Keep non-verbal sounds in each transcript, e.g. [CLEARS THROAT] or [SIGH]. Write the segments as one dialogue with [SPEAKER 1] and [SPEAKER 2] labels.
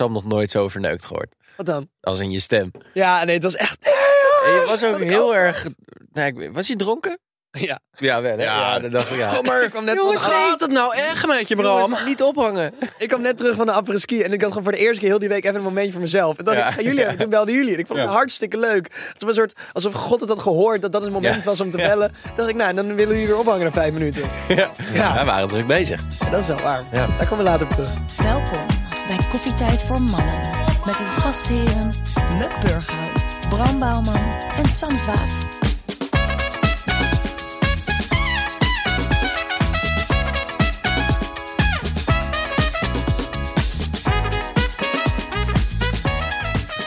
[SPEAKER 1] Sam nog nooit zo verneukt gehoord.
[SPEAKER 2] Wat dan?
[SPEAKER 1] Als in je stem.
[SPEAKER 2] Ja, nee, het was echt.
[SPEAKER 1] En je
[SPEAKER 3] Ah,
[SPEAKER 1] was ook heel erg... Nou, ik weet- was hij dronken?
[SPEAKER 2] Ja.
[SPEAKER 1] Ja, wel hè? Ja, dat dacht ik ja.
[SPEAKER 2] maar ik kwam net
[SPEAKER 1] Jongens,
[SPEAKER 2] van...
[SPEAKER 1] gaat
[SPEAKER 2] het nou echt met je,
[SPEAKER 1] Jongens, niet ophangen.
[SPEAKER 2] Ik kwam net terug van de après ski en ik had gewoon voor de eerste keer heel die week even een momentje voor mezelf. En dan
[SPEAKER 1] Ja.
[SPEAKER 2] ik, gaan jullie, toen belden jullie. En ik vond het hartstikke leuk. Het was een soort alsof God het had gehoord dat dat het moment
[SPEAKER 1] Ja.
[SPEAKER 2] was om te
[SPEAKER 1] Ja.
[SPEAKER 2] bellen. Toen dacht ik, nou, dan willen jullie weer ophangen na vijf minuten.
[SPEAKER 1] Ja.
[SPEAKER 2] Ja.
[SPEAKER 1] Wij waren druk bezig.
[SPEAKER 2] Ja, dat is wel waar.
[SPEAKER 1] Ja.
[SPEAKER 2] Daar komen we later op terug.
[SPEAKER 4] Welkom bij Koffietijd voor Mannen. Met uw gastheren Muk Burghuis, Bram Bouwman en Sam Zwaaf.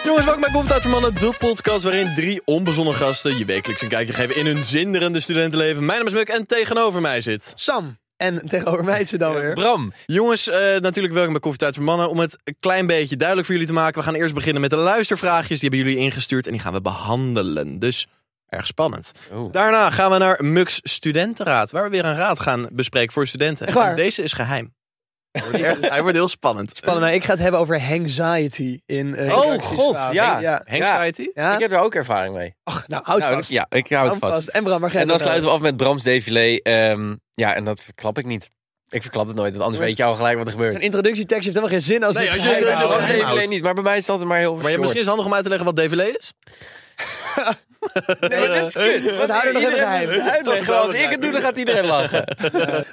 [SPEAKER 3] Jongens, welkom bij Koffietijd voor Mannen, de podcast waarin drie onbezonnen gasten je wekelijks een kijkje geven in hun zinderende studentenleven. Mijn naam is Muk en tegenover mij zit...
[SPEAKER 2] Sam. En tegenover mij zit dan weer.
[SPEAKER 3] Bram. Jongens, eh, natuurlijk welkom bij Koffietijd voor Mannen. Om het een klein beetje duidelijk voor jullie te maken, we gaan eerst beginnen met de luistervraagjes. Die hebben jullie ingestuurd en die gaan we behandelen. Dus erg spannend.
[SPEAKER 1] Oeh.
[SPEAKER 3] Daarna gaan we naar Muk's Studentenraad, waar we weer een raad gaan bespreken voor studenten.
[SPEAKER 2] Echt waar?
[SPEAKER 3] En deze is geheim. Hij wordt, erg- hij wordt heel spannend.
[SPEAKER 2] Spannend, maar ik ga het hebben over anxiety in eh,
[SPEAKER 1] Oh,
[SPEAKER 2] interacties.
[SPEAKER 1] god, ja.
[SPEAKER 2] ja.
[SPEAKER 3] Anxiety?
[SPEAKER 2] Ja?
[SPEAKER 1] Ik heb daar ook ervaring mee.
[SPEAKER 2] Ach, nou, houd
[SPEAKER 1] Nou,
[SPEAKER 2] vast.
[SPEAKER 1] Ja, ik hou het
[SPEAKER 2] Houd
[SPEAKER 1] vast.
[SPEAKER 2] En Bram, waar ga
[SPEAKER 1] En dan sluiten we af met Brams défilé. Ehm, ja, en dat verklap ik niet. Ik verklap het nooit, want anders weet je al gelijk wat er gebeurt.
[SPEAKER 2] Zo'n introducietekst heeft helemaal geen zin als
[SPEAKER 3] Nee,
[SPEAKER 2] het
[SPEAKER 3] als je-
[SPEAKER 2] geheim
[SPEAKER 3] als je-
[SPEAKER 2] houdt.
[SPEAKER 1] Brams
[SPEAKER 3] geheim
[SPEAKER 1] défilé
[SPEAKER 3] houdt.
[SPEAKER 1] niet, maar bij mij is dat maar heel
[SPEAKER 3] Maar ja,
[SPEAKER 1] short.
[SPEAKER 3] misschien is het handig om uit te leggen wat DVL is?
[SPEAKER 1] Nee, maar dit is [LAUGHS] kut.
[SPEAKER 2] We houden nog even geheim.
[SPEAKER 1] Uitleggen. Als ik het doe, dan gaat iedereen lachen.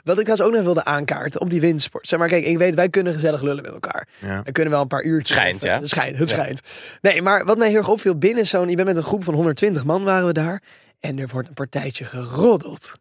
[SPEAKER 2] Wat ik trouwens ook nog wilde aankaarten op die windsport. Zeg maar, kijk, ik weet, wij kunnen gezellig lullen met elkaar.
[SPEAKER 3] Ja.
[SPEAKER 2] We kunnen wel een paar uurtjes.
[SPEAKER 1] Schijnt,
[SPEAKER 2] of-
[SPEAKER 1] ja.
[SPEAKER 2] Het schijnt, het schijnt. Nee, maar wat mij heel erg opviel binnen zo'n... Je bent met een groep van 120 man waren we daar. En er wordt een partijtje geroddeld.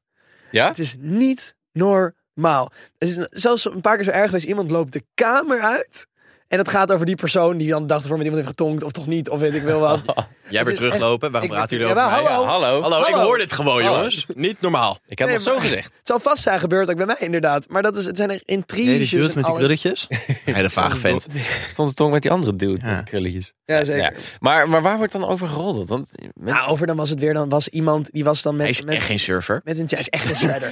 [SPEAKER 1] Ja?
[SPEAKER 2] Het is niet normaal. Het is zelfs een paar keer zo erg geweest. Iemand loopt de kamer uit. En het gaat over die persoon die dan de dag ervoor met iemand heeft getonkt. Of toch niet, of weet ik wel
[SPEAKER 1] [LAUGHS]
[SPEAKER 2] wat.
[SPEAKER 3] Jij weer
[SPEAKER 2] is echt-
[SPEAKER 3] teruglopen, waarom
[SPEAKER 2] Ik
[SPEAKER 3] praten
[SPEAKER 2] ben-
[SPEAKER 3] jullie over
[SPEAKER 2] Ja,
[SPEAKER 3] mij?
[SPEAKER 2] wel, hallo.
[SPEAKER 1] Hallo.
[SPEAKER 3] Hallo, ik
[SPEAKER 2] Hallo.
[SPEAKER 3] hoor dit gewoon,
[SPEAKER 1] Hallo.
[SPEAKER 3] jongens. Niet normaal.
[SPEAKER 1] Ik heb
[SPEAKER 2] Nee,
[SPEAKER 1] nog zo
[SPEAKER 2] maar-
[SPEAKER 1] gezegd.
[SPEAKER 2] Het zal vast zijn gebeurd ook bij mij inderdaad. Maar dat is, het zijn er intriges en alles.
[SPEAKER 3] krulletjes. [LAUGHS] Hele vaag vent.
[SPEAKER 1] Stond de tong met die andere dude
[SPEAKER 3] Ja.
[SPEAKER 1] met die krulletjes.
[SPEAKER 2] Ja, zeker.
[SPEAKER 1] Ja. Maar, maar waar wordt dan over geroddeld? Want mensen-
[SPEAKER 2] Nou, over dan was het weer, dan was iemand die was dan met,
[SPEAKER 3] Hij is
[SPEAKER 2] met,
[SPEAKER 3] echt geen surfer.
[SPEAKER 2] met een jazz. Echt geen shredder.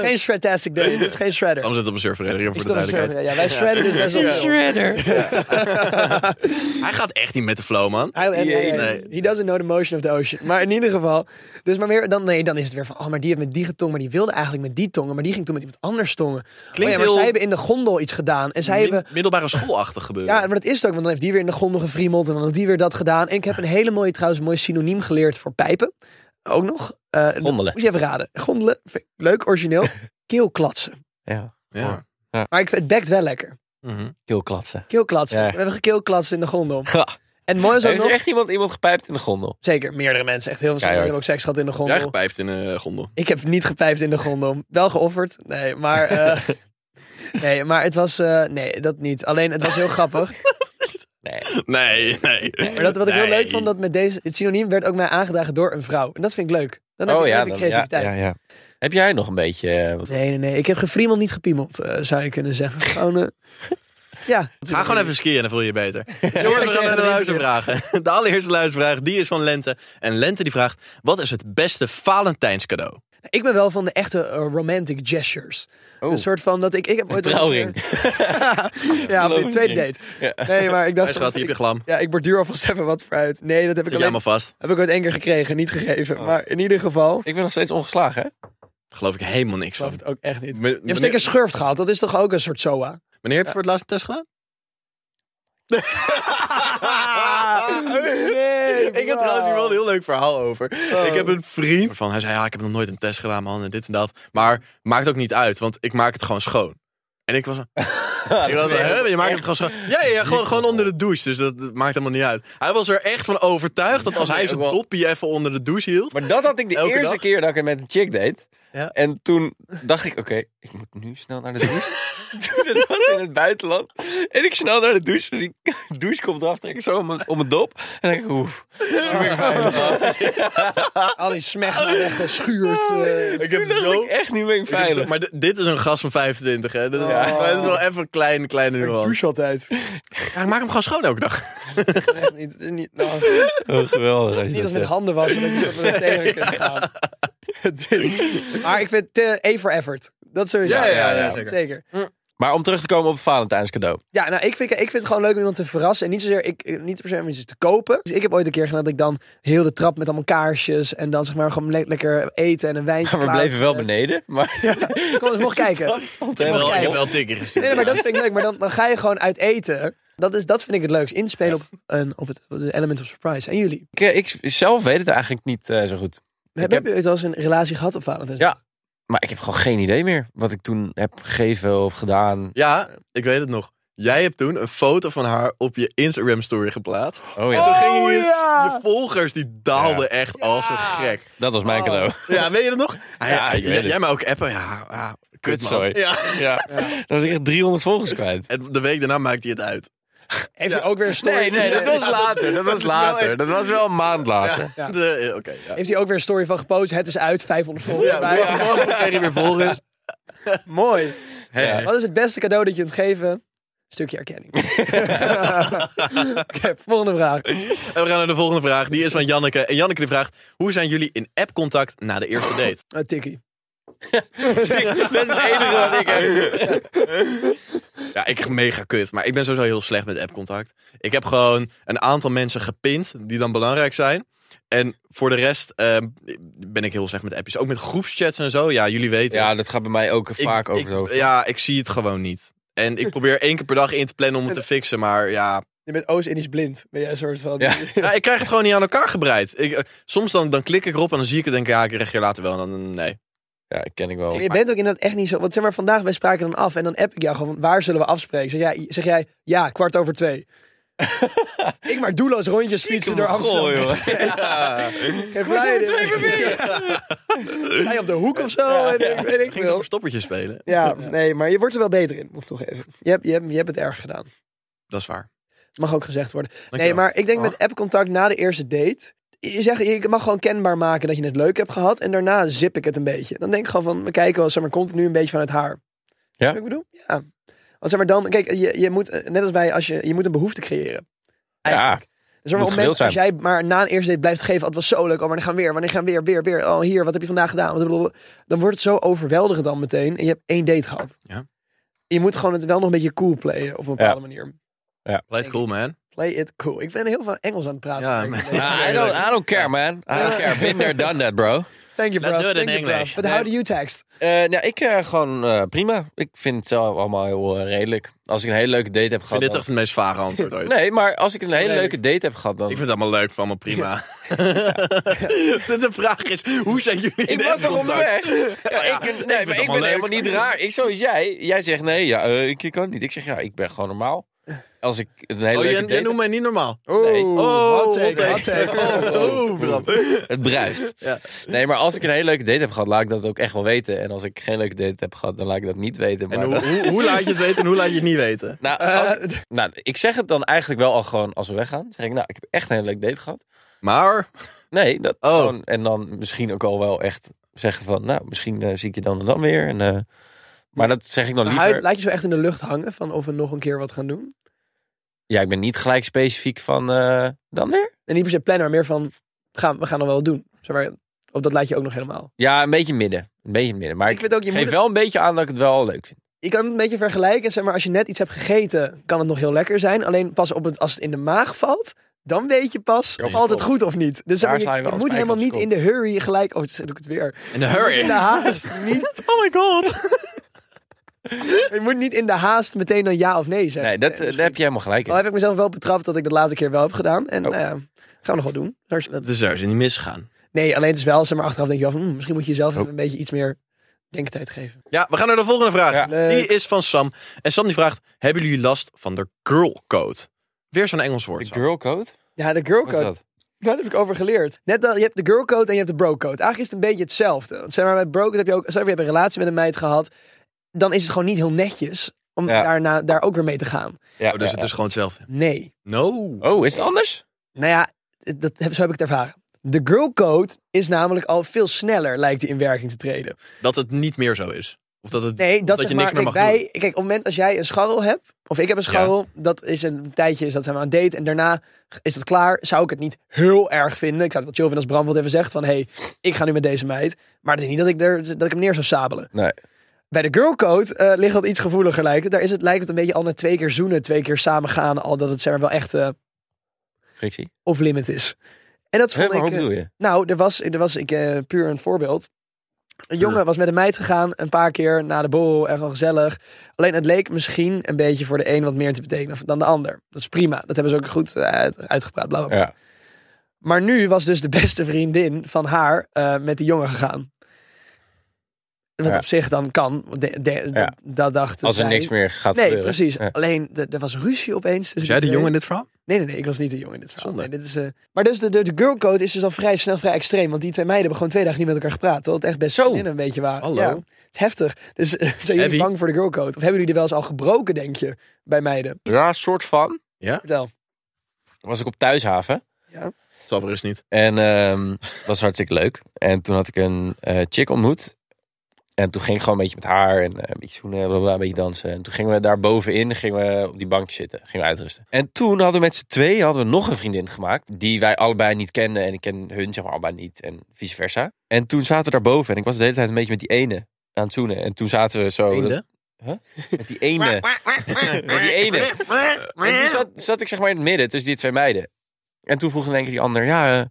[SPEAKER 2] geen shredtastic day. Het is geen shredder.
[SPEAKER 3] Sam zit op een surfer, Edgar,
[SPEAKER 2] Is
[SPEAKER 3] voor de
[SPEAKER 2] toch een
[SPEAKER 3] duidelijkheid.
[SPEAKER 2] shredder? Ja, wij shredden dus best wel veel.
[SPEAKER 3] Hij gaat echt niet met de flow, man.
[SPEAKER 2] Hij- hij- hij-
[SPEAKER 3] Nee.
[SPEAKER 2] He doesn't know the motion of the ocean. Maar in ieder geval. Dus maar weer, dan, nee, dan is het weer van. Oh, maar die heeft met die getongen. Maar die wilde eigenlijk met die tongen. Maar die ging toen met iemand anders tongen. oh, ja, maar
[SPEAKER 3] heel-
[SPEAKER 2] zij hebben in de gondel iets gedaan. En zij
[SPEAKER 3] Min-
[SPEAKER 2] hebben
[SPEAKER 3] Middelbare schoolachtig gebeuren.
[SPEAKER 2] Ja, maar dat is het ook. Want dan heeft die weer in de gondel gefriemeld. En dan heeft die weer dat gedaan. En ik heb een hele mooie, trouwens, mooi synoniem geleerd voor pijpen. Ook nog. Eh, dat
[SPEAKER 1] Gondelen.
[SPEAKER 2] Moet je even raden. Gondelen. vind ik Leuk, origineel.
[SPEAKER 1] [LAUGHS]
[SPEAKER 2] Keelklatsen.
[SPEAKER 1] ja.
[SPEAKER 3] Ja.
[SPEAKER 2] Maar ik, vind- het bekt wel lekker.
[SPEAKER 3] Mhm.
[SPEAKER 1] Keel klatsen.
[SPEAKER 2] Keelklatsen.
[SPEAKER 1] Ja.
[SPEAKER 2] We hebben gekeelklatsen in de gondel.
[SPEAKER 1] Ha.
[SPEAKER 2] En mooi is ook
[SPEAKER 1] Heeft
[SPEAKER 2] nog...
[SPEAKER 1] er echt iemand, iemand gepijpt in de gondel?
[SPEAKER 2] Zeker, meerdere mensen. Echt heel veel mensen
[SPEAKER 1] Keihard.
[SPEAKER 2] hebben ook seks gehad in de
[SPEAKER 3] Jij
[SPEAKER 2] gondel.
[SPEAKER 3] gepijpt in een gondel.
[SPEAKER 2] Ik heb niet gepijpt in de gondel. Wel geofferd. Nee, maar... eh,
[SPEAKER 1] [LAUGHS]
[SPEAKER 2] nee, maar het was... eh, nee, dat niet. Alleen, het was heel grappig.
[SPEAKER 1] Nee.
[SPEAKER 3] Nee, nee.
[SPEAKER 2] Maar dat, wat ik heel
[SPEAKER 3] Nee.
[SPEAKER 2] leuk vond, dat met deze, het synoniem werd ook mij aangedragen door een vrouw. En dat vind ik leuk. Dan heb, ik, dan heb ik
[SPEAKER 1] dan-
[SPEAKER 2] creativiteit.
[SPEAKER 1] Oh Ja, ja, ja. Heb jij nog een beetje... eh, wat-
[SPEAKER 2] Nee, nee, nee. Ik heb gefriemeld, niet gepiemeld, eh, zou je kunnen zeggen. Gewoon, eh, [LAUGHS] ja.
[SPEAKER 3] Ga gewoon even skiën, dan voel je je
[SPEAKER 2] [LAUGHS]
[SPEAKER 3] beter. Jongens, we gaan naar de luistervragen. [LAUGHS] De allereerste luistervraag, die is van Lente. En Lente die vraagt, wat is het beste Valentijnscadeau?
[SPEAKER 2] Ik ben wel van de echte eh, romantic gestures.
[SPEAKER 1] Oh.
[SPEAKER 2] Een soort van dat ik... ik heb ooit
[SPEAKER 1] trouwring.
[SPEAKER 2] [LAUGHS] ja, op die tweede date.
[SPEAKER 1] Ja.
[SPEAKER 2] Nee, maar ik dacht...
[SPEAKER 3] Hij schat, hier heb je
[SPEAKER 2] ik,
[SPEAKER 3] glam.
[SPEAKER 2] ja, ik borduur alvast even wat vooruit. Nee, dat heb ik,
[SPEAKER 3] Zet jij
[SPEAKER 2] alleen,
[SPEAKER 3] maar vast.
[SPEAKER 2] heb ik ooit één keer gekregen, niet gegeven. Maar in ieder geval... Ik
[SPEAKER 1] Ik ben nog steeds ongeslagen, hè?
[SPEAKER 3] Geloof ik helemaal niks
[SPEAKER 2] geloof
[SPEAKER 3] van.
[SPEAKER 2] het ook echt niet. Je
[SPEAKER 3] Meneer,
[SPEAKER 2] hebt zeker schurft gehad, dat is toch ook een soort SOA?
[SPEAKER 3] wanneer heb je voor het laatst een test gedaan?
[SPEAKER 1] [LAUGHS]
[SPEAKER 2] Nee,
[SPEAKER 3] Ik heb trouwens hier wel een heel leuk verhaal over.
[SPEAKER 1] Oh.
[SPEAKER 3] Ik heb een vriend waarvan hij zei: Ja, ik heb nog nooit een test gedaan, man, en dit en dat. Maar maakt ook niet uit, want ik maak het gewoon schoon. En ik was, ik was zo, hè, je maakt het gewoon schoon. Ja, ja, ja, gewoon, gewoon onder de douche, dus dat maakt helemaal niet uit. Hij was er echt van overtuigd dat als hij
[SPEAKER 1] nee,
[SPEAKER 3] zijn
[SPEAKER 1] ook wel.
[SPEAKER 3] toppie even onder de douche hield.
[SPEAKER 1] Maar dat had ik de
[SPEAKER 3] Elke
[SPEAKER 1] eerste
[SPEAKER 3] dag?
[SPEAKER 1] keer dat ik het met een chick deed.
[SPEAKER 3] Ja.
[SPEAKER 1] En toen dacht ik, oké, ik moet nu snel naar de douche. toen dat was in het buitenland. En ik snel naar de douche. En die [LAUGHS] douche komt eraf, trek ik zo om mijn, om mijn dop. En dan denk ik, oeh, is weer veilig.
[SPEAKER 2] Al die smecht naar weggeschuurd. eh.
[SPEAKER 3] Ik
[SPEAKER 1] Toen
[SPEAKER 3] heb
[SPEAKER 1] dacht
[SPEAKER 3] zo...
[SPEAKER 1] ik echt, nu ben ik
[SPEAKER 3] ik heb zo-
[SPEAKER 1] veilig. Oh.
[SPEAKER 3] maar di- dit is een gast van 25, hè? Dat,
[SPEAKER 1] Ja.
[SPEAKER 3] maar dat is wel even een kleine, kleine
[SPEAKER 2] Ik
[SPEAKER 3] nuance.
[SPEAKER 2] douche [LAUGHS] altijd.
[SPEAKER 3] Ja, ik maak hem gewoon schoon elke dag.
[SPEAKER 2] Echt niet, niet, nou,
[SPEAKER 1] Oh, geweldig.
[SPEAKER 2] niet als het met handen was. Dat je dat met tegen kunnen
[SPEAKER 3] [LAUGHS]
[SPEAKER 2] gaan. maar ik vind eh A for effort. Dat sowieso.
[SPEAKER 3] Ja, ja, ja, ja,
[SPEAKER 2] zeker.
[SPEAKER 3] zeker.
[SPEAKER 1] Maar om terug te komen op het Valentijns cadeau.
[SPEAKER 2] Ja, nou, ik vind, ik vind het gewoon leuk om iemand te verrassen. En niet zozeer, ik, eh, niet per se om iets te kopen. Dus ik heb ooit een keer gedaan dat ik dan heel de trap met allemaal kaarsjes. En dan zeg maar gewoon le- lekker eten en een wijntje.
[SPEAKER 1] Maar we bleven wel beneden. Maar [LAUGHS]
[SPEAKER 2] Ik kon dus
[SPEAKER 3] [LAUGHS]
[SPEAKER 2] nog kijken.
[SPEAKER 1] vond
[SPEAKER 3] Ik heb wel, ik heb
[SPEAKER 2] kijken.
[SPEAKER 1] helemaal
[SPEAKER 3] wel een tikkie
[SPEAKER 2] Nee,
[SPEAKER 3] gestuurd.
[SPEAKER 2] nee, maar dat vind ik leuk. Maar dan, dan ga je gewoon uit eten. Dat, is, dat vind ik het leukst. Inspelen op, een, op, het, op het element of surprise. En jullie?
[SPEAKER 1] ik, ik zelf weet het eigenlijk niet eh, zo goed.
[SPEAKER 2] Heb,
[SPEAKER 1] heb-
[SPEAKER 2] je ooit wel eens een relatie gehad op Valentijn's?
[SPEAKER 1] Ja. Maar ik heb gewoon geen idee meer wat ik toen heb gegeven of gedaan.
[SPEAKER 3] Ja, ik weet het nog. Jij hebt toen een foto van haar op je Instagram-story geplaatst.
[SPEAKER 1] Oh
[SPEAKER 3] En toen
[SPEAKER 1] ja,
[SPEAKER 3] gingen je, je volgers, die daalden
[SPEAKER 1] Ja.
[SPEAKER 3] echt als een gek.
[SPEAKER 1] dat was mijn cadeau.
[SPEAKER 3] Ja, weet je dat nog? Hij-
[SPEAKER 1] Ja,
[SPEAKER 3] hij-
[SPEAKER 1] ik weet
[SPEAKER 3] jij,
[SPEAKER 1] het.
[SPEAKER 3] jij mij ook appen? Ja, ah, kut man.
[SPEAKER 1] Kutzooi.
[SPEAKER 3] Ja.
[SPEAKER 1] Ja. [LAUGHS] Dan was ik echt 300 volgers kwijt.
[SPEAKER 3] En de week daarna maakte hij het uit.
[SPEAKER 2] Heeft je ook weer een story?
[SPEAKER 1] later.
[SPEAKER 3] [LAUGHS]
[SPEAKER 1] Dat was later. Dat was wel een maand later.
[SPEAKER 3] Ja. De- eh, Oké, ja.
[SPEAKER 2] Heeft hij ook weer een story van gepost? Het is uit, 500 volgers
[SPEAKER 3] Ja,
[SPEAKER 2] bij.
[SPEAKER 3] morgen- [LAUGHS] morgen kreeg je weer volgers.
[SPEAKER 2] Mooi.
[SPEAKER 3] Hey.
[SPEAKER 2] Wat is het beste cadeau dat je kunt geven? Stukje
[SPEAKER 3] [LAUGHS]
[SPEAKER 2] erkenning. Oké, volgende vraag. Eh,
[SPEAKER 3] En we gaan naar de volgende vraag. Die is van Janneke. En Janneke die vraagt, hoe zijn jullie in app-contact na de eerste date?
[SPEAKER 2] Eh, tikkie.
[SPEAKER 1] Dat is het enige wat ik heb.
[SPEAKER 3] [LAUGHS] Ja, ik echt mega kut. Maar ik ben sowieso heel slecht met appcontact. Ik heb gewoon een aantal mensen gepind die dan belangrijk zijn. En voor de rest eh, ben ik heel slecht met appjes. Ook met groepschats en zo. Ja, jullie weten.
[SPEAKER 1] Ja, dat gaat bij mij ook vaak
[SPEAKER 3] ik,
[SPEAKER 1] over het
[SPEAKER 3] ik,
[SPEAKER 1] hoofd.
[SPEAKER 3] Ja, ik zie het gewoon niet. En ik probeer één keer per dag in te
[SPEAKER 1] [LAUGHS]
[SPEAKER 3] plannen om het te fixen. Maar ja,
[SPEAKER 2] Je bent Oost-Indisch blind. Ben jij een soort van...
[SPEAKER 1] Ja.
[SPEAKER 3] ja ik krijg het gewoon niet aan elkaar gebreid. Ik, eh, soms dan, dan klik ik erop en dan zie ik het en denk ik, ja, ik reageer later wel. En dan nee.
[SPEAKER 1] Ja, ik ken ik
[SPEAKER 2] En
[SPEAKER 1] wel.
[SPEAKER 2] je bent ook inderdaad echt niet zo... Want zeg maar, vandaag, wij spraken dan af. En dan app ik jou gewoon, van, waar zullen we afspreken? Zeg jij, zeg jij ja, kwart over twee. ik maar doelloos rondjes fietsen door Amsterdam.
[SPEAKER 1] Goh, joh.
[SPEAKER 3] [LAUGHS] Ja.
[SPEAKER 2] Geen flyer. Ga je op de hoek of zo? en ik, weet ik
[SPEAKER 3] Ging toch
[SPEAKER 2] veel.
[SPEAKER 3] verstoppertje spelen?
[SPEAKER 2] Ja, nee, maar je wordt er wel beter in, moet ik toegeven. Je hebt, je, hebt, je hebt het erg gedaan.
[SPEAKER 3] Dat is waar.
[SPEAKER 2] Mag ook gezegd worden. nee,
[SPEAKER 3] Dankjewel.
[SPEAKER 2] maar ik denk met appcontact na de eerste date. Je, zegt, je mag gewoon kenbaar maken dat je het leuk hebt gehad. En daarna zip ik het een beetje. Dan denk ik gewoon van, we kijken wel, zeg maar, continu een beetje vanuit haar. Snap je wat ik bedoel? Ja. Want zeg maar dan, kijk, je, je moet, eh, net als wij, als je, je moet een behoefte creëren.
[SPEAKER 1] Ja,
[SPEAKER 2] Dus op het
[SPEAKER 1] moet
[SPEAKER 2] moment,
[SPEAKER 1] gewild
[SPEAKER 2] als jij maar na een eerste date blijft geven, oh, het was zo leuk, oh, maar dan gaan we weer, wanneer gaan we weer, weer, weer, oh, hier, wat heb je vandaag gedaan? Wat blablabla. Dan wordt het zo overweldigend dan meteen en je hebt één date gehad.
[SPEAKER 3] Ja.
[SPEAKER 2] Je moet gewoon het wel nog een beetje cool playen op een bepaalde manier.
[SPEAKER 3] Blijft cool, man.
[SPEAKER 2] Play it cool. Ik ben heel veel Engels aan het praten.
[SPEAKER 3] Ja,
[SPEAKER 2] merk ik.
[SPEAKER 1] I, don't, I don't care, man. I don't care. Been there, done that, bro.
[SPEAKER 2] Thank you, bro.
[SPEAKER 3] Let's do it
[SPEAKER 2] Thank
[SPEAKER 3] in
[SPEAKER 2] you, bro.
[SPEAKER 3] English.
[SPEAKER 2] But how do you text?
[SPEAKER 1] Eh, nou, ik eh, gewoon eh, prima. Ik vind het zelf allemaal heel eh, redelijk. Als ik een hele leuke date heb
[SPEAKER 3] Ik
[SPEAKER 1] gehad...
[SPEAKER 3] vind dit echt het meest vage antwoord ooit.
[SPEAKER 1] dan- Nee, maar als ik een hele
[SPEAKER 2] Nee.
[SPEAKER 1] leuke date heb gehad, dan...
[SPEAKER 3] Ik vind het allemaal leuk, allemaal prima. [LAUGHS] De de vraag is, hoe zijn jullie in
[SPEAKER 1] Ik was toch
[SPEAKER 3] contact?
[SPEAKER 1] onderweg? Ja, ik,
[SPEAKER 3] ja,
[SPEAKER 1] nee,
[SPEAKER 3] ik vind
[SPEAKER 1] maar
[SPEAKER 3] het
[SPEAKER 1] ik ben
[SPEAKER 3] allemaal leuk.
[SPEAKER 1] helemaal niet raar. Ik, zoals jij. Jij zegt nee, ja, eh, ik, ik kan niet. Ik zeg ja, ik ben gewoon normaal. Als ik een hele
[SPEAKER 3] Oh,
[SPEAKER 1] leuke
[SPEAKER 3] jij,
[SPEAKER 1] date
[SPEAKER 3] jij noemt mij niet normaal.
[SPEAKER 1] Nee.
[SPEAKER 3] Oh,
[SPEAKER 2] hot take,
[SPEAKER 3] hot
[SPEAKER 2] hot take.
[SPEAKER 3] [LAUGHS] Oh,
[SPEAKER 1] [LAUGHS] Oh,
[SPEAKER 3] Bram.
[SPEAKER 1] Het bruist.
[SPEAKER 3] Ja.
[SPEAKER 1] Nee, maar als ik een hele leuke date heb gehad, laat ik dat ook echt wel weten. En als ik geen leuke date heb gehad, dan laat ik dat niet weten.
[SPEAKER 3] En
[SPEAKER 1] maar
[SPEAKER 3] hoe,
[SPEAKER 1] dat-
[SPEAKER 3] hoe, hoe laat je het weten en hoe laat je het niet weten?
[SPEAKER 1] Nou, als ik,
[SPEAKER 3] [LAUGHS]
[SPEAKER 1] nou, ik zeg het dan eigenlijk wel al gewoon als we weggaan. Zeg ik, nou, ik heb echt een hele leuke date gehad.
[SPEAKER 3] Maar,
[SPEAKER 1] Nee, dat
[SPEAKER 3] Oh.
[SPEAKER 1] gewoon. En dan misschien ook al wel echt zeggen van, nou, misschien eh, zie ik je dan en dan weer. En, eh, maar dat zeg ik dan
[SPEAKER 2] Maar hij-
[SPEAKER 1] liever.
[SPEAKER 2] Laat je zo echt in de lucht hangen van of we nog een keer wat gaan doen?
[SPEAKER 1] Ja, ik ben niet gelijk specifiek van, eh, dan weer?
[SPEAKER 2] En niet per se plannen, maar meer van, gaan, we gaan dan wel doen. Zeg maar, of dat laat je ook nog helemaal.
[SPEAKER 1] Ja, een beetje midden. Een beetje midden. Maar
[SPEAKER 2] Ik
[SPEAKER 1] ik,
[SPEAKER 2] vind ook, je
[SPEAKER 1] geef
[SPEAKER 2] moet-
[SPEAKER 1] wel een beetje aan dat ik het wel leuk vind.
[SPEAKER 2] Je kan het een beetje vergelijken. Zeg maar, als je net iets hebt gegeten, kan het nog heel lekker zijn. Alleen pas op het, als het in de maag valt, dan weet je pas
[SPEAKER 1] Ja,
[SPEAKER 2] of altijd
[SPEAKER 1] kom.
[SPEAKER 2] goed of niet. Dus zeg
[SPEAKER 1] Daar
[SPEAKER 2] maar,
[SPEAKER 1] sla
[SPEAKER 2] je,
[SPEAKER 1] je wel
[SPEAKER 2] je
[SPEAKER 1] een
[SPEAKER 2] moet
[SPEAKER 1] spijker
[SPEAKER 2] helemaal
[SPEAKER 1] op
[SPEAKER 2] niet
[SPEAKER 1] de
[SPEAKER 2] in de hurry gelijk... Oh, zet ik het weer.
[SPEAKER 3] in de
[SPEAKER 2] Je moet In de
[SPEAKER 3] hurry.
[SPEAKER 2] haast niet.
[SPEAKER 3] Oh my god.
[SPEAKER 2] [LAUGHS] Je moet niet in de haast meteen dan ja of nee zeggen.
[SPEAKER 1] Nee, dat,
[SPEAKER 2] Eh,
[SPEAKER 1] eh, daar
[SPEAKER 2] misschien-
[SPEAKER 1] heb je helemaal gelijk in.
[SPEAKER 2] Al heb ik mezelf wel betrapt dat ik dat laatste keer wel heb gedaan. En
[SPEAKER 1] Oh.
[SPEAKER 2] nou ja, gaan we nog wel doen. Daar- dat-
[SPEAKER 3] Dus daar is het niet misgegaan.
[SPEAKER 2] Nee, alleen het is wel, zeg maar, achteraf denk je wel van... hm, misschien moet je jezelf even een beetje iets meer denktijd geven.
[SPEAKER 3] Ja, we gaan naar de volgende vraag.
[SPEAKER 1] Ja.
[SPEAKER 3] Die is van Sam. En Sam die vraagt, hebben jullie last van de girl code? Weer zo'n Engels woord.
[SPEAKER 1] De
[SPEAKER 3] Sam.
[SPEAKER 1] girl code?
[SPEAKER 2] Ja,
[SPEAKER 1] Wat
[SPEAKER 2] de
[SPEAKER 1] is
[SPEAKER 2] girlcode.
[SPEAKER 1] dat?
[SPEAKER 2] Daar heb ik over geleerd. Net dat, je hebt de girl code en je hebt de bro code. Eigenlijk is het een beetje hetzelfde. Want zeg maar, bij bro code heb je ook... Stel je hebt een relatie met een meid gehad. Dan is het gewoon niet heel netjes om
[SPEAKER 1] Ja.
[SPEAKER 2] daarna, daar ook weer mee te gaan.
[SPEAKER 1] Ja,
[SPEAKER 3] Oh, dus het is gewoon hetzelfde.
[SPEAKER 2] Nee.
[SPEAKER 3] No.
[SPEAKER 1] Oh, is het anders?
[SPEAKER 2] Nou ja, dat heb, zo heb ik het ervaren. De girl code is namelijk al veel sneller lijkt die in werking te treden.
[SPEAKER 3] Dat het niet meer zo is. Of dat, het,
[SPEAKER 2] Nee,
[SPEAKER 3] of
[SPEAKER 2] dat,
[SPEAKER 3] je
[SPEAKER 2] zeg
[SPEAKER 3] niks
[SPEAKER 2] maar,
[SPEAKER 3] meer
[SPEAKER 2] kijk,
[SPEAKER 3] mag
[SPEAKER 2] wij,
[SPEAKER 3] doen.
[SPEAKER 2] kijk, op het moment als jij een scharrel hebt, of ik heb een scharrel, dat is een tijdje, is dat zijn we aan het daten, en daarna is dat klaar, zou ik het niet heel erg vinden. Ik zou het wel chill vinden als Bram wat even zegt van, hé, hey, ik ga nu met deze meid, maar het is niet dat ik, er, dat ik hem neer zou sabelen.
[SPEAKER 1] Nee.
[SPEAKER 2] Bij de girlcode eh ligt dat iets gevoeliger, lijkt het. Daar is het, lijkt het een beetje al na twee keer zoenen, twee keer samen gaan, al dat het zeg maar wel echt eh,
[SPEAKER 1] [LAUGHS] Frictie.
[SPEAKER 2] off-limit is. En dat
[SPEAKER 1] Hè,
[SPEAKER 2] vond
[SPEAKER 1] maar
[SPEAKER 2] ik...
[SPEAKER 1] hoe
[SPEAKER 2] eh,
[SPEAKER 1] bedoel je?
[SPEAKER 2] nou, er was, er was ik, eh, puur een voorbeeld. Een jongen was met een meid gegaan, een paar keer na de borrel, erg wel gezellig. Alleen het leek misschien een beetje voor de een wat meer te betekenen dan de ander. Dat is prima, dat hebben ze ook goed eh, uit- uitgepraat. Bla bla bla.
[SPEAKER 1] Ja.
[SPEAKER 2] Maar nu was dus de [LAUGHS] beste vriendin van haar eh, met die jongen gegaan. Wat
[SPEAKER 1] Ja.
[SPEAKER 2] op zich dan kan, de- de- de-
[SPEAKER 1] Ja.
[SPEAKER 2] dat dacht
[SPEAKER 1] Als er
[SPEAKER 2] zij.
[SPEAKER 1] niks meer gaat
[SPEAKER 2] Nee,
[SPEAKER 1] gebeuren.
[SPEAKER 2] precies.
[SPEAKER 1] Ja.
[SPEAKER 2] Alleen, de- er was ruzie opeens.
[SPEAKER 3] Is jij de jongen in dit verhaal?
[SPEAKER 2] Nee, nee, nee, ik was niet de jongen in dit verhaal.
[SPEAKER 3] Zonde.
[SPEAKER 2] Nee, dit is, eh, Maar dus de, de, de girlcode is dus al vrij snel vrij extreem. Want die twee meiden hebben gewoon twee dagen niet met elkaar gepraat. Terwijl het echt best
[SPEAKER 1] Zo.
[SPEAKER 2] vriendinnen een beetje waren.
[SPEAKER 3] Hallo.
[SPEAKER 2] Ja, het is heftig. Dus eh, [LAUGHS] zijn jullie
[SPEAKER 3] Heavy.
[SPEAKER 2] bang voor de girlcode? Of hebben jullie er wel eens al gebroken, denk je, bij meiden?
[SPEAKER 1] Ja, soort van.
[SPEAKER 2] Vertel.
[SPEAKER 1] Was ik op thuishaven.
[SPEAKER 3] Zal er eens niet.
[SPEAKER 1] En ehm, dat was hartstikke leuk. En toen had ik een eh, chick ontmoet. En toen ging ik gewoon een beetje met haar en eh, een beetje zoenen, blablabla, een beetje dansen. En toen gingen we daar bovenin, gingen we op die bankje zitten, gingen we uitrusten. En toen hadden we met z'n tweeën hadden we nog een vriendin gemaakt, die wij allebei niet kenden. En ik ken hun, zeg maar, allebei niet. En vice versa. En toen zaten we daarboven en ik was de hele tijd een beetje met die ene aan het zoenen. En toen zaten we zo...
[SPEAKER 3] Eende?
[SPEAKER 1] dat- met die ene. [LAUGHS] met die ene. En toen zat, zat ik zeg maar in het midden tussen die twee meiden. En toen vroeg in één keer die ander, ja, eh,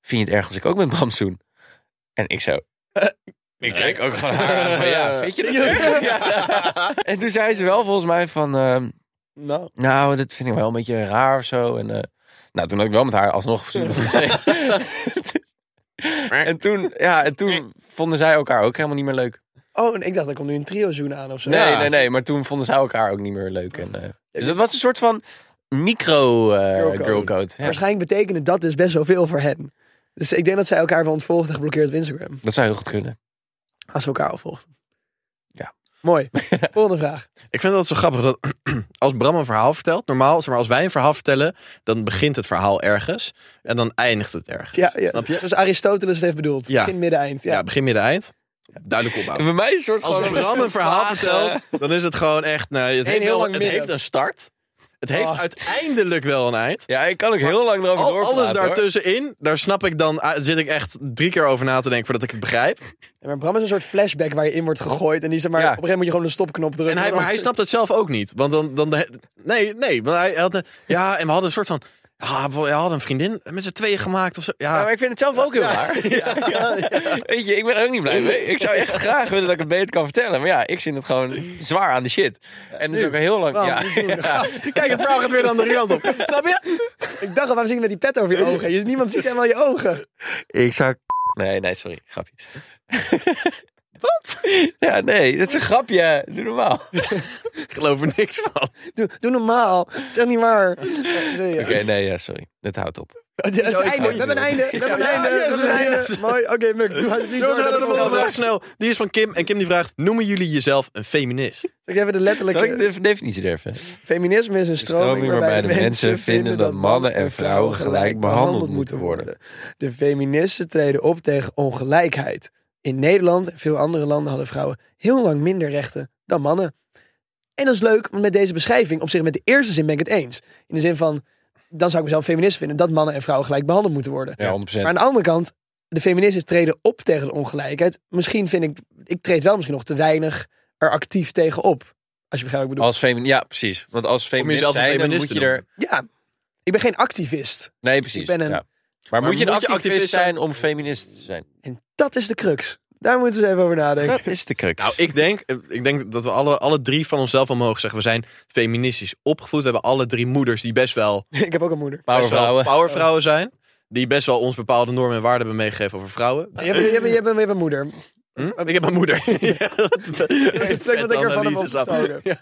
[SPEAKER 1] vind je het erg als ik ook met Bram zoen? En ik zo... eh, ik kijk ook gewoon haar aan van, [LAUGHS] ja, vind je dat erg? Ja. En toen zei ze wel volgens mij van, ehm,
[SPEAKER 2] Nou.
[SPEAKER 1] nou, dat vind ik wel een beetje raar of zo. En, eh, nou, toen had ik wel met haar alsnog [LAUGHS] zoen geweest. en, toen, ja, en toen vonden zij elkaar ook helemaal niet meer leuk.
[SPEAKER 2] Oh, en ik dacht, er komt nu een trio zoen aan of zo.
[SPEAKER 1] Nee,
[SPEAKER 2] Ja.
[SPEAKER 1] nee, nee. Maar toen vonden zij elkaar ook niet meer leuk. En, eh, dus dat was een soort van micro eh,
[SPEAKER 2] Girlcode.
[SPEAKER 1] girlcode. Ja.
[SPEAKER 2] Waarschijnlijk betekende dat dus best wel veel voor hen. Dus ik denk dat zij elkaar wel ontvolgden en geblokkeerd op Instagram.
[SPEAKER 1] Dat zou heel goed kunnen.
[SPEAKER 2] Als ze elkaar volgden.
[SPEAKER 1] Ja.
[SPEAKER 2] Mooi. Volgende vraag.
[SPEAKER 3] Ik vind dat zo grappig dat [CLEARS THROAT] als Bram een verhaal vertelt, normaal, zeg maar, als wij een verhaal vertellen, dan begint het verhaal ergens en dan eindigt het ergens.
[SPEAKER 2] Ja, ja.
[SPEAKER 3] Snap je?
[SPEAKER 2] Zoals Aristoteles het heeft bedoeld.
[SPEAKER 3] Ja.
[SPEAKER 2] Begin, midden, eind.
[SPEAKER 3] Ja, begin, midden, eind. Duidelijk opbouw.
[SPEAKER 1] Bij mij is een soort
[SPEAKER 3] Als Bram een
[SPEAKER 2] [LAUGHS]
[SPEAKER 3] [LAUGHS] verhaal vertelt, dan is het gewoon echt, nee, het, heeft,
[SPEAKER 2] heel
[SPEAKER 3] wel-
[SPEAKER 2] lang
[SPEAKER 3] het
[SPEAKER 2] midden.
[SPEAKER 3] heeft een start. Het heeft
[SPEAKER 2] Oh.
[SPEAKER 3] uiteindelijk wel een eind.
[SPEAKER 1] Ja, ik kan ook heel lang erover
[SPEAKER 3] Al,
[SPEAKER 1] doorpraten.
[SPEAKER 3] alles
[SPEAKER 1] hoor.
[SPEAKER 3] daartussenin, daar snap ik dan, ah, zit ik echt drie keer over na te denken voordat ik het begrijp.
[SPEAKER 2] Ja, maar Bram is een soort flashback waar je in wordt gegooid. En die zeg maar,
[SPEAKER 1] Ja.
[SPEAKER 2] op een gegeven moment moet je gewoon een stopknop drukken.
[SPEAKER 3] En hij,
[SPEAKER 2] dan-
[SPEAKER 3] [LAUGHS] maar hij snapt het zelf ook niet. Want dan. dan de- nee, nee. Want hij had, een- ja, en we hadden een soort van. Ja, we hadden een vriendin met z'n tweeën gemaakt of zo.
[SPEAKER 1] Ja, maar
[SPEAKER 3] Ja,
[SPEAKER 1] ik vind het zelf ook heel raar. Weet je, ik ben er ook niet blij mee. Ik zou echt graag willen dat ik het beter kan vertellen. Maar ja, ik zit het gewoon zwaar aan de shit. En dat is ook heel lang... [LAUGHS]
[SPEAKER 2] Bram,
[SPEAKER 1] ja.
[SPEAKER 2] niet
[SPEAKER 3] [LAUGHS]
[SPEAKER 2] doen. [LAUGHS]
[SPEAKER 3] kijk, het verhaal gaat weer de andere kant [LAUGHS] op. Snap je?
[SPEAKER 2] Ik dacht al, waarom zit je met die pet over
[SPEAKER 3] [LAUGHS]
[SPEAKER 2] je ogen? Je, niemand ziet helemaal je ogen.
[SPEAKER 1] Ik zou... Nee, nee, sorry. Grapje.
[SPEAKER 3] [LAUGHS]
[SPEAKER 1] Wat? Ja, nee, dat is een grapje. Doe normaal.
[SPEAKER 3] [LAUGHS] Ik geloof er niks van.
[SPEAKER 2] Doe, doe normaal. Zeg niet
[SPEAKER 3] [LAUGHS]
[SPEAKER 2] waar. Sorry, ja.
[SPEAKER 1] Oké, nee, ja, sorry. Dit houdt op.
[SPEAKER 2] Het, het einde.
[SPEAKER 3] vond
[SPEAKER 2] We
[SPEAKER 3] je
[SPEAKER 2] hebben een einde. We hebben een
[SPEAKER 3] Ja,
[SPEAKER 2] einde.
[SPEAKER 3] yes,
[SPEAKER 2] We hebben een
[SPEAKER 3] yes.
[SPEAKER 2] einde. Mooi. Oké, Muk.
[SPEAKER 3] [LAUGHS]
[SPEAKER 2] doe alsjeblieft
[SPEAKER 3] Jongens, we
[SPEAKER 2] door
[SPEAKER 3] gaan naar
[SPEAKER 2] naar
[SPEAKER 3] de volgende vraag snel. Die is van Kim. En Kim die vraagt: Noemen jullie jezelf een feminist?
[SPEAKER 2] Ik zeg even de
[SPEAKER 1] Zal ik
[SPEAKER 2] letterlijke...
[SPEAKER 1] de definitie durven?
[SPEAKER 2] Feminisme is een stroming, waarbij de mensen vinden dat mannen en vrouwen gelijk behandeld moeten worden. De feministen treden op tegen ongelijkheid. In Nederland en veel andere landen hadden vrouwen heel lang minder rechten dan mannen. En dat is leuk, want met deze beschrijving, op zich met de eerste zin ben ik het eens. In de zin van, dan zou ik mezelf feminist vinden dat mannen en vrouwen gelijk behandeld moeten worden.
[SPEAKER 1] Ja, 100%.
[SPEAKER 2] Maar aan de andere kant, de feministen treden op tegen de ongelijkheid. Misschien vind ik, ik treed wel misschien nog te weinig er actief tegen op. Als je begrijpt wat ik bedoel.
[SPEAKER 1] Als feminist, ja, precies. Want als feminist
[SPEAKER 3] nou- jezelf een
[SPEAKER 1] zijn, dan
[SPEAKER 3] feminist
[SPEAKER 1] moet je
[SPEAKER 3] te
[SPEAKER 1] er...
[SPEAKER 2] Ja, ik ben geen activist.
[SPEAKER 1] Nee, precies.
[SPEAKER 2] Ik ben een-
[SPEAKER 1] ja. Maar, moet je een
[SPEAKER 3] moet je
[SPEAKER 1] activist,
[SPEAKER 3] activist
[SPEAKER 1] zijn,
[SPEAKER 3] zijn
[SPEAKER 1] om feminist te zijn?
[SPEAKER 2] En dat is de crux. Daar moeten we eens even over nadenken.
[SPEAKER 1] Dat is de crux.
[SPEAKER 3] Nou, ik denk, ik denk dat we alle, alle drie van onszelf wel mogen zeggen: we zijn feministisch opgevoed. We hebben alle drie moeders die best wel,
[SPEAKER 2] ik heb ook een moeder.
[SPEAKER 3] best wel
[SPEAKER 1] Powervrouwen.
[SPEAKER 3] powervrouwen zijn. Die best wel ons bepaalde normen en waarden hebben meegegeven over vrouwen.
[SPEAKER 2] Je hebt, je hebt, je hebt, je hebt een moeder.
[SPEAKER 3] Hm? Ik heb mijn
[SPEAKER 2] [LAUGHS]
[SPEAKER 3] moeder. Ja, dat
[SPEAKER 2] is het stuk wat ik ervan heb opgestoken.
[SPEAKER 3] [LAUGHS] Ja.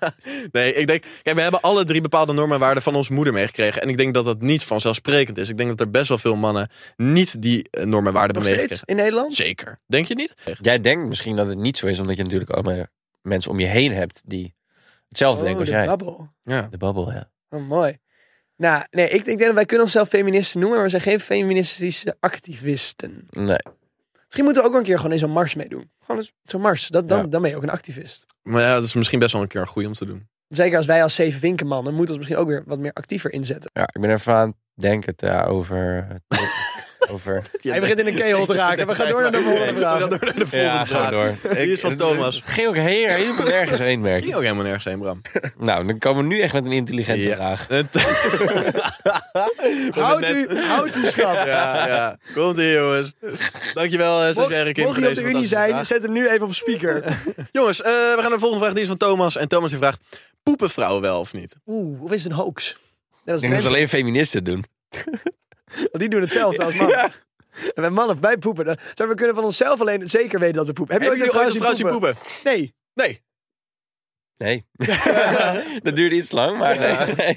[SPEAKER 3] Nee, ik denk... Kijk, we hebben alle drie bepaalde normen en waarden van onze moeder meegekregen. En ik denk dat dat niet vanzelfsprekend is. Ik denk dat er best wel veel mannen niet die eh, normen en waarden
[SPEAKER 2] Nog
[SPEAKER 3] hebben
[SPEAKER 2] steeds
[SPEAKER 3] meegekregen.
[SPEAKER 2] in Nederland?
[SPEAKER 3] Zeker. Denk je niet?
[SPEAKER 1] Jij denkt misschien dat het niet zo is, omdat je natuurlijk allemaal mensen om je heen hebt die hetzelfde
[SPEAKER 3] Oh,
[SPEAKER 1] denken als
[SPEAKER 2] Oh, de
[SPEAKER 1] jij.
[SPEAKER 2] babbel.
[SPEAKER 3] Ja.
[SPEAKER 1] De babbel, ja.
[SPEAKER 2] Oh, mooi. Nou, nee, ik, ik denk dat wij kunnen onszelf feministen noemen, maar we zijn geen feministische activisten.
[SPEAKER 1] Nee.
[SPEAKER 2] Misschien moeten we ook wel een keer gewoon in zo'n mars meedoen. Gewoon eens zo'n mars, dat, dan,
[SPEAKER 1] Ja.
[SPEAKER 2] dan ben je ook een activist.
[SPEAKER 3] Maar ja, dat is misschien best wel een keer een goeie om te doen.
[SPEAKER 2] Zeker als wij als zeven winkenmannen moeten we ons misschien ook weer wat meer actiever inzetten.
[SPEAKER 1] ja. Ik ben even aan het denken ja, over...
[SPEAKER 3] [LAUGHS]
[SPEAKER 1] over...
[SPEAKER 2] Hij begint in een keel te raken. We gaan door naar de volgende
[SPEAKER 3] We gaan
[SPEAKER 2] vraag.
[SPEAKER 3] door naar de volgende vraag.
[SPEAKER 2] [LAUGHS]
[SPEAKER 1] door.
[SPEAKER 3] Die is van Thomas.
[SPEAKER 1] Ging ook heel- helemaal nergens heen, merk
[SPEAKER 3] Ging
[SPEAKER 1] ik.
[SPEAKER 3] ook helemaal nergens heen,
[SPEAKER 2] [LAUGHS]
[SPEAKER 3] Bram.
[SPEAKER 1] Nou, dan komen we nu echt met een intelligente
[SPEAKER 3] Ja.
[SPEAKER 1] vraag.
[SPEAKER 2] Houdt u, houdt u schap.
[SPEAKER 3] Ja, ja. Komt hier, jongens. Dankjewel, eh,
[SPEAKER 2] Mocht
[SPEAKER 3] stagiaire Kim.
[SPEAKER 2] mocht
[SPEAKER 3] voor
[SPEAKER 2] je op
[SPEAKER 3] deze
[SPEAKER 2] de Unie
[SPEAKER 3] fantastische
[SPEAKER 2] zijn,
[SPEAKER 3] vraag.
[SPEAKER 2] zet hem nu even op speaker.
[SPEAKER 3] Jongens, eh, we gaan naar de volgende vraag. Die is van Thomas. En Thomas die vraagt, poepen vrouwen wel of niet?
[SPEAKER 2] [LAUGHS] Oeh, of is het een hoax? Net
[SPEAKER 1] Ik
[SPEAKER 2] als
[SPEAKER 1] denk dat
[SPEAKER 2] mensen,
[SPEAKER 1] alleen feministen doen.
[SPEAKER 2] want die doen hetzelfde als mannen. En wij mannen, wij poepen. Dan Zouden we kunnen van onszelf alleen zeker weten dat we poepen. Heb je
[SPEAKER 3] Heb
[SPEAKER 2] ooit
[SPEAKER 3] je
[SPEAKER 2] een vrouw
[SPEAKER 3] ooit een
[SPEAKER 2] zien
[SPEAKER 3] vrouw zien
[SPEAKER 2] poepen?
[SPEAKER 3] poepen?
[SPEAKER 2] Nee.
[SPEAKER 3] Nee.
[SPEAKER 1] Nee. dat duurde iets lang, maar nee. nee.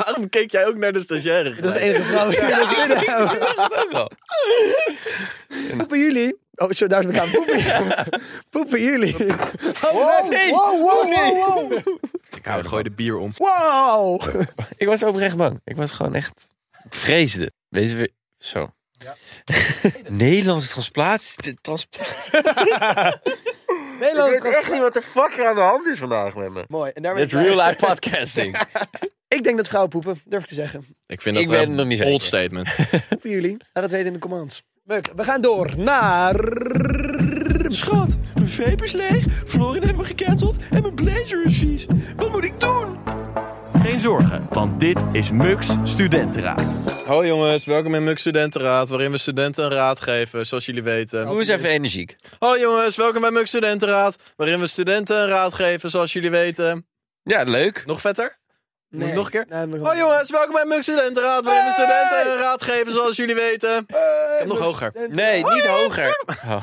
[SPEAKER 3] [LAUGHS] Waarom keek jij ook naar de stagiaire?
[SPEAKER 2] Dat is de
[SPEAKER 3] gelijk?
[SPEAKER 2] enige vrouw die we dus binnen hebben. [LAUGHS]
[SPEAKER 1] Ook wel.
[SPEAKER 2] Poepen jullie? Oh, zo, daar is elkaar. Poepen, poepen jullie? Oh, nee. wow, wow, wow, wow.
[SPEAKER 3] Ik hou, gooi de bier om.
[SPEAKER 2] Wow.
[SPEAKER 1] Ik was oprecht bang. Ik was gewoon echt... Ik vreesde. Deze... we- Zo. [LAUGHS] Nederlandse transplantatie.
[SPEAKER 2] Nederlands.
[SPEAKER 1] echt niet wat de fuck er aan de hand is vandaag met me.
[SPEAKER 2] Mooi. En daar ben
[SPEAKER 1] It's
[SPEAKER 2] ik blij.
[SPEAKER 1] real life podcasting.
[SPEAKER 3] [LAUGHS]
[SPEAKER 2] Ik denk dat vrouwen poepen, durf ik te zeggen.
[SPEAKER 3] Ik vind
[SPEAKER 1] Ik
[SPEAKER 3] dat
[SPEAKER 1] ben
[SPEAKER 3] wel
[SPEAKER 1] het nog niet
[SPEAKER 3] bold
[SPEAKER 1] zeker.
[SPEAKER 3] statement.
[SPEAKER 2] Poepen jullie? Laat dat weten in de commands. Leuk. We gaan door naar... Schat, mijn vape is leeg. Florin heeft me gecanceld. En mijn blazer is vies. Wat moet ik doen?
[SPEAKER 5] [LAUGHS] Geen zorgen, want dit is Mux Studentenraad.
[SPEAKER 3] Hoi jongens, welkom in MUK Studentenraad, waarin we studenten een raad geven, zoals jullie weten.
[SPEAKER 1] Doe eens even energiek.
[SPEAKER 3] Hoi jongens, welkom bij MUK Studentenraad, waarin we studenten een raad geven, zoals jullie weten.
[SPEAKER 1] Ja, leuk.
[SPEAKER 3] Nog vetter? Moet ik nog een keer?
[SPEAKER 2] Nee, nog
[SPEAKER 3] Hoi jongens, welkom bij MUK Studentenraad, waarin we studenten een raad geven, zoals jullie weten. Ik heb nog hoger.
[SPEAKER 1] Nee, niet hoger.
[SPEAKER 3] Nou.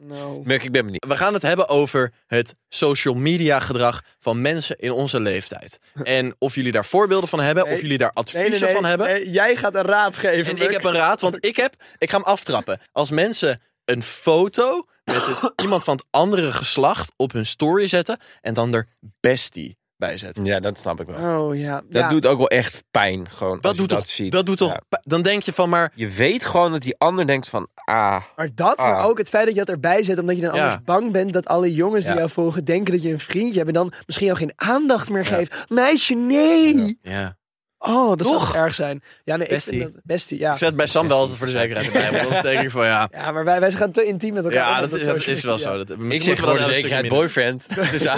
[SPEAKER 2] No.
[SPEAKER 1] Merk, ik ben benieuwd.
[SPEAKER 3] We gaan het hebben over het social media gedrag van mensen in onze leeftijd. En of jullie daar voorbeelden van hebben,
[SPEAKER 2] Nee.
[SPEAKER 3] of jullie daar adviezen van hebben.
[SPEAKER 2] Nee, jij gaat een raad geven.
[SPEAKER 3] En ik
[SPEAKER 2] Muk.
[SPEAKER 3] heb een raad, want ik heb, ik ga hem aftrappen. Als mensen een foto met het- iemand van het andere geslacht op hun story zetten en dan er bestie bij zetten.
[SPEAKER 1] Ja, dat snap ik wel.
[SPEAKER 2] Oh ja.
[SPEAKER 1] Dat
[SPEAKER 2] ja.
[SPEAKER 1] doet ook wel echt pijn, gewoon. als
[SPEAKER 3] Dat
[SPEAKER 1] je
[SPEAKER 3] doet,
[SPEAKER 1] dat
[SPEAKER 3] toch,
[SPEAKER 1] ziet.
[SPEAKER 3] dat doet toch,
[SPEAKER 1] Ja.
[SPEAKER 3] pa- dan denk je van maar,
[SPEAKER 1] Je weet gewoon dat die ander denkt van, ah,
[SPEAKER 2] Maar dat,
[SPEAKER 1] Ah.
[SPEAKER 2] maar ook het feit dat je dat erbij zet, omdat je dan
[SPEAKER 3] Ja.
[SPEAKER 2] anders bang bent dat alle jongens die
[SPEAKER 1] Ja.
[SPEAKER 2] jou volgen denken dat je een vriendje hebt en dan misschien jou geen aandacht meer geeft. Meisje, nee!
[SPEAKER 3] ja.
[SPEAKER 2] Oh, dat zou
[SPEAKER 3] Toch?
[SPEAKER 2] toch erg zijn. Ja, nee,
[SPEAKER 3] Bestie.
[SPEAKER 2] ik vind dat bestie, ja.
[SPEAKER 3] ik zet bij Sam wel altijd voor de zekerheid erbij, want anders denk ik van ja,
[SPEAKER 2] Ja, maar wij, wij gaan te intiem met elkaar.
[SPEAKER 3] ja
[SPEAKER 2] om
[SPEAKER 3] dat, is,
[SPEAKER 2] social
[SPEAKER 3] dat is wel
[SPEAKER 2] media.
[SPEAKER 3] zo. Dat,
[SPEAKER 1] ik zeg gewoon de zekerheid, boyfriend. [LAUGHS] Dus
[SPEAKER 3] [LAUGHS]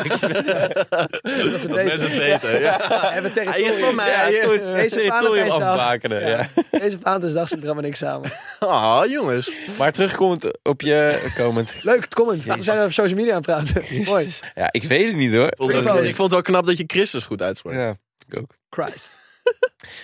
[SPEAKER 2] Dat ze het
[SPEAKER 3] Dat mensen
[SPEAKER 2] weten.
[SPEAKER 3] het weten, ja.
[SPEAKER 2] [LAUGHS] Ja, hebben
[SPEAKER 3] Hij is
[SPEAKER 2] territorium.
[SPEAKER 3] van mij.
[SPEAKER 1] ja,
[SPEAKER 3] hij-
[SPEAKER 1] toen-
[SPEAKER 2] Deze
[SPEAKER 1] toen- toen je hem
[SPEAKER 2] Valentijnsdag.
[SPEAKER 1] afbakenen, ja.
[SPEAKER 2] eh, Deze Valentijnsdag zijn Bram en ik samen.
[SPEAKER 3] Ah, [LAUGHS] jongens.
[SPEAKER 1] Maar terugkomend op
[SPEAKER 3] [LAUGHS]
[SPEAKER 1] je comment.
[SPEAKER 2] Leuk, comment. We zijn over social media aan het praten. Mooi.
[SPEAKER 1] Ja, ik weet het niet hoor.
[SPEAKER 3] Ik vond, het
[SPEAKER 2] Christus.
[SPEAKER 3] wel- ik vond het wel knap dat je Christus goed uitsprak.
[SPEAKER 1] Ja, ik ook.
[SPEAKER 2] Christ.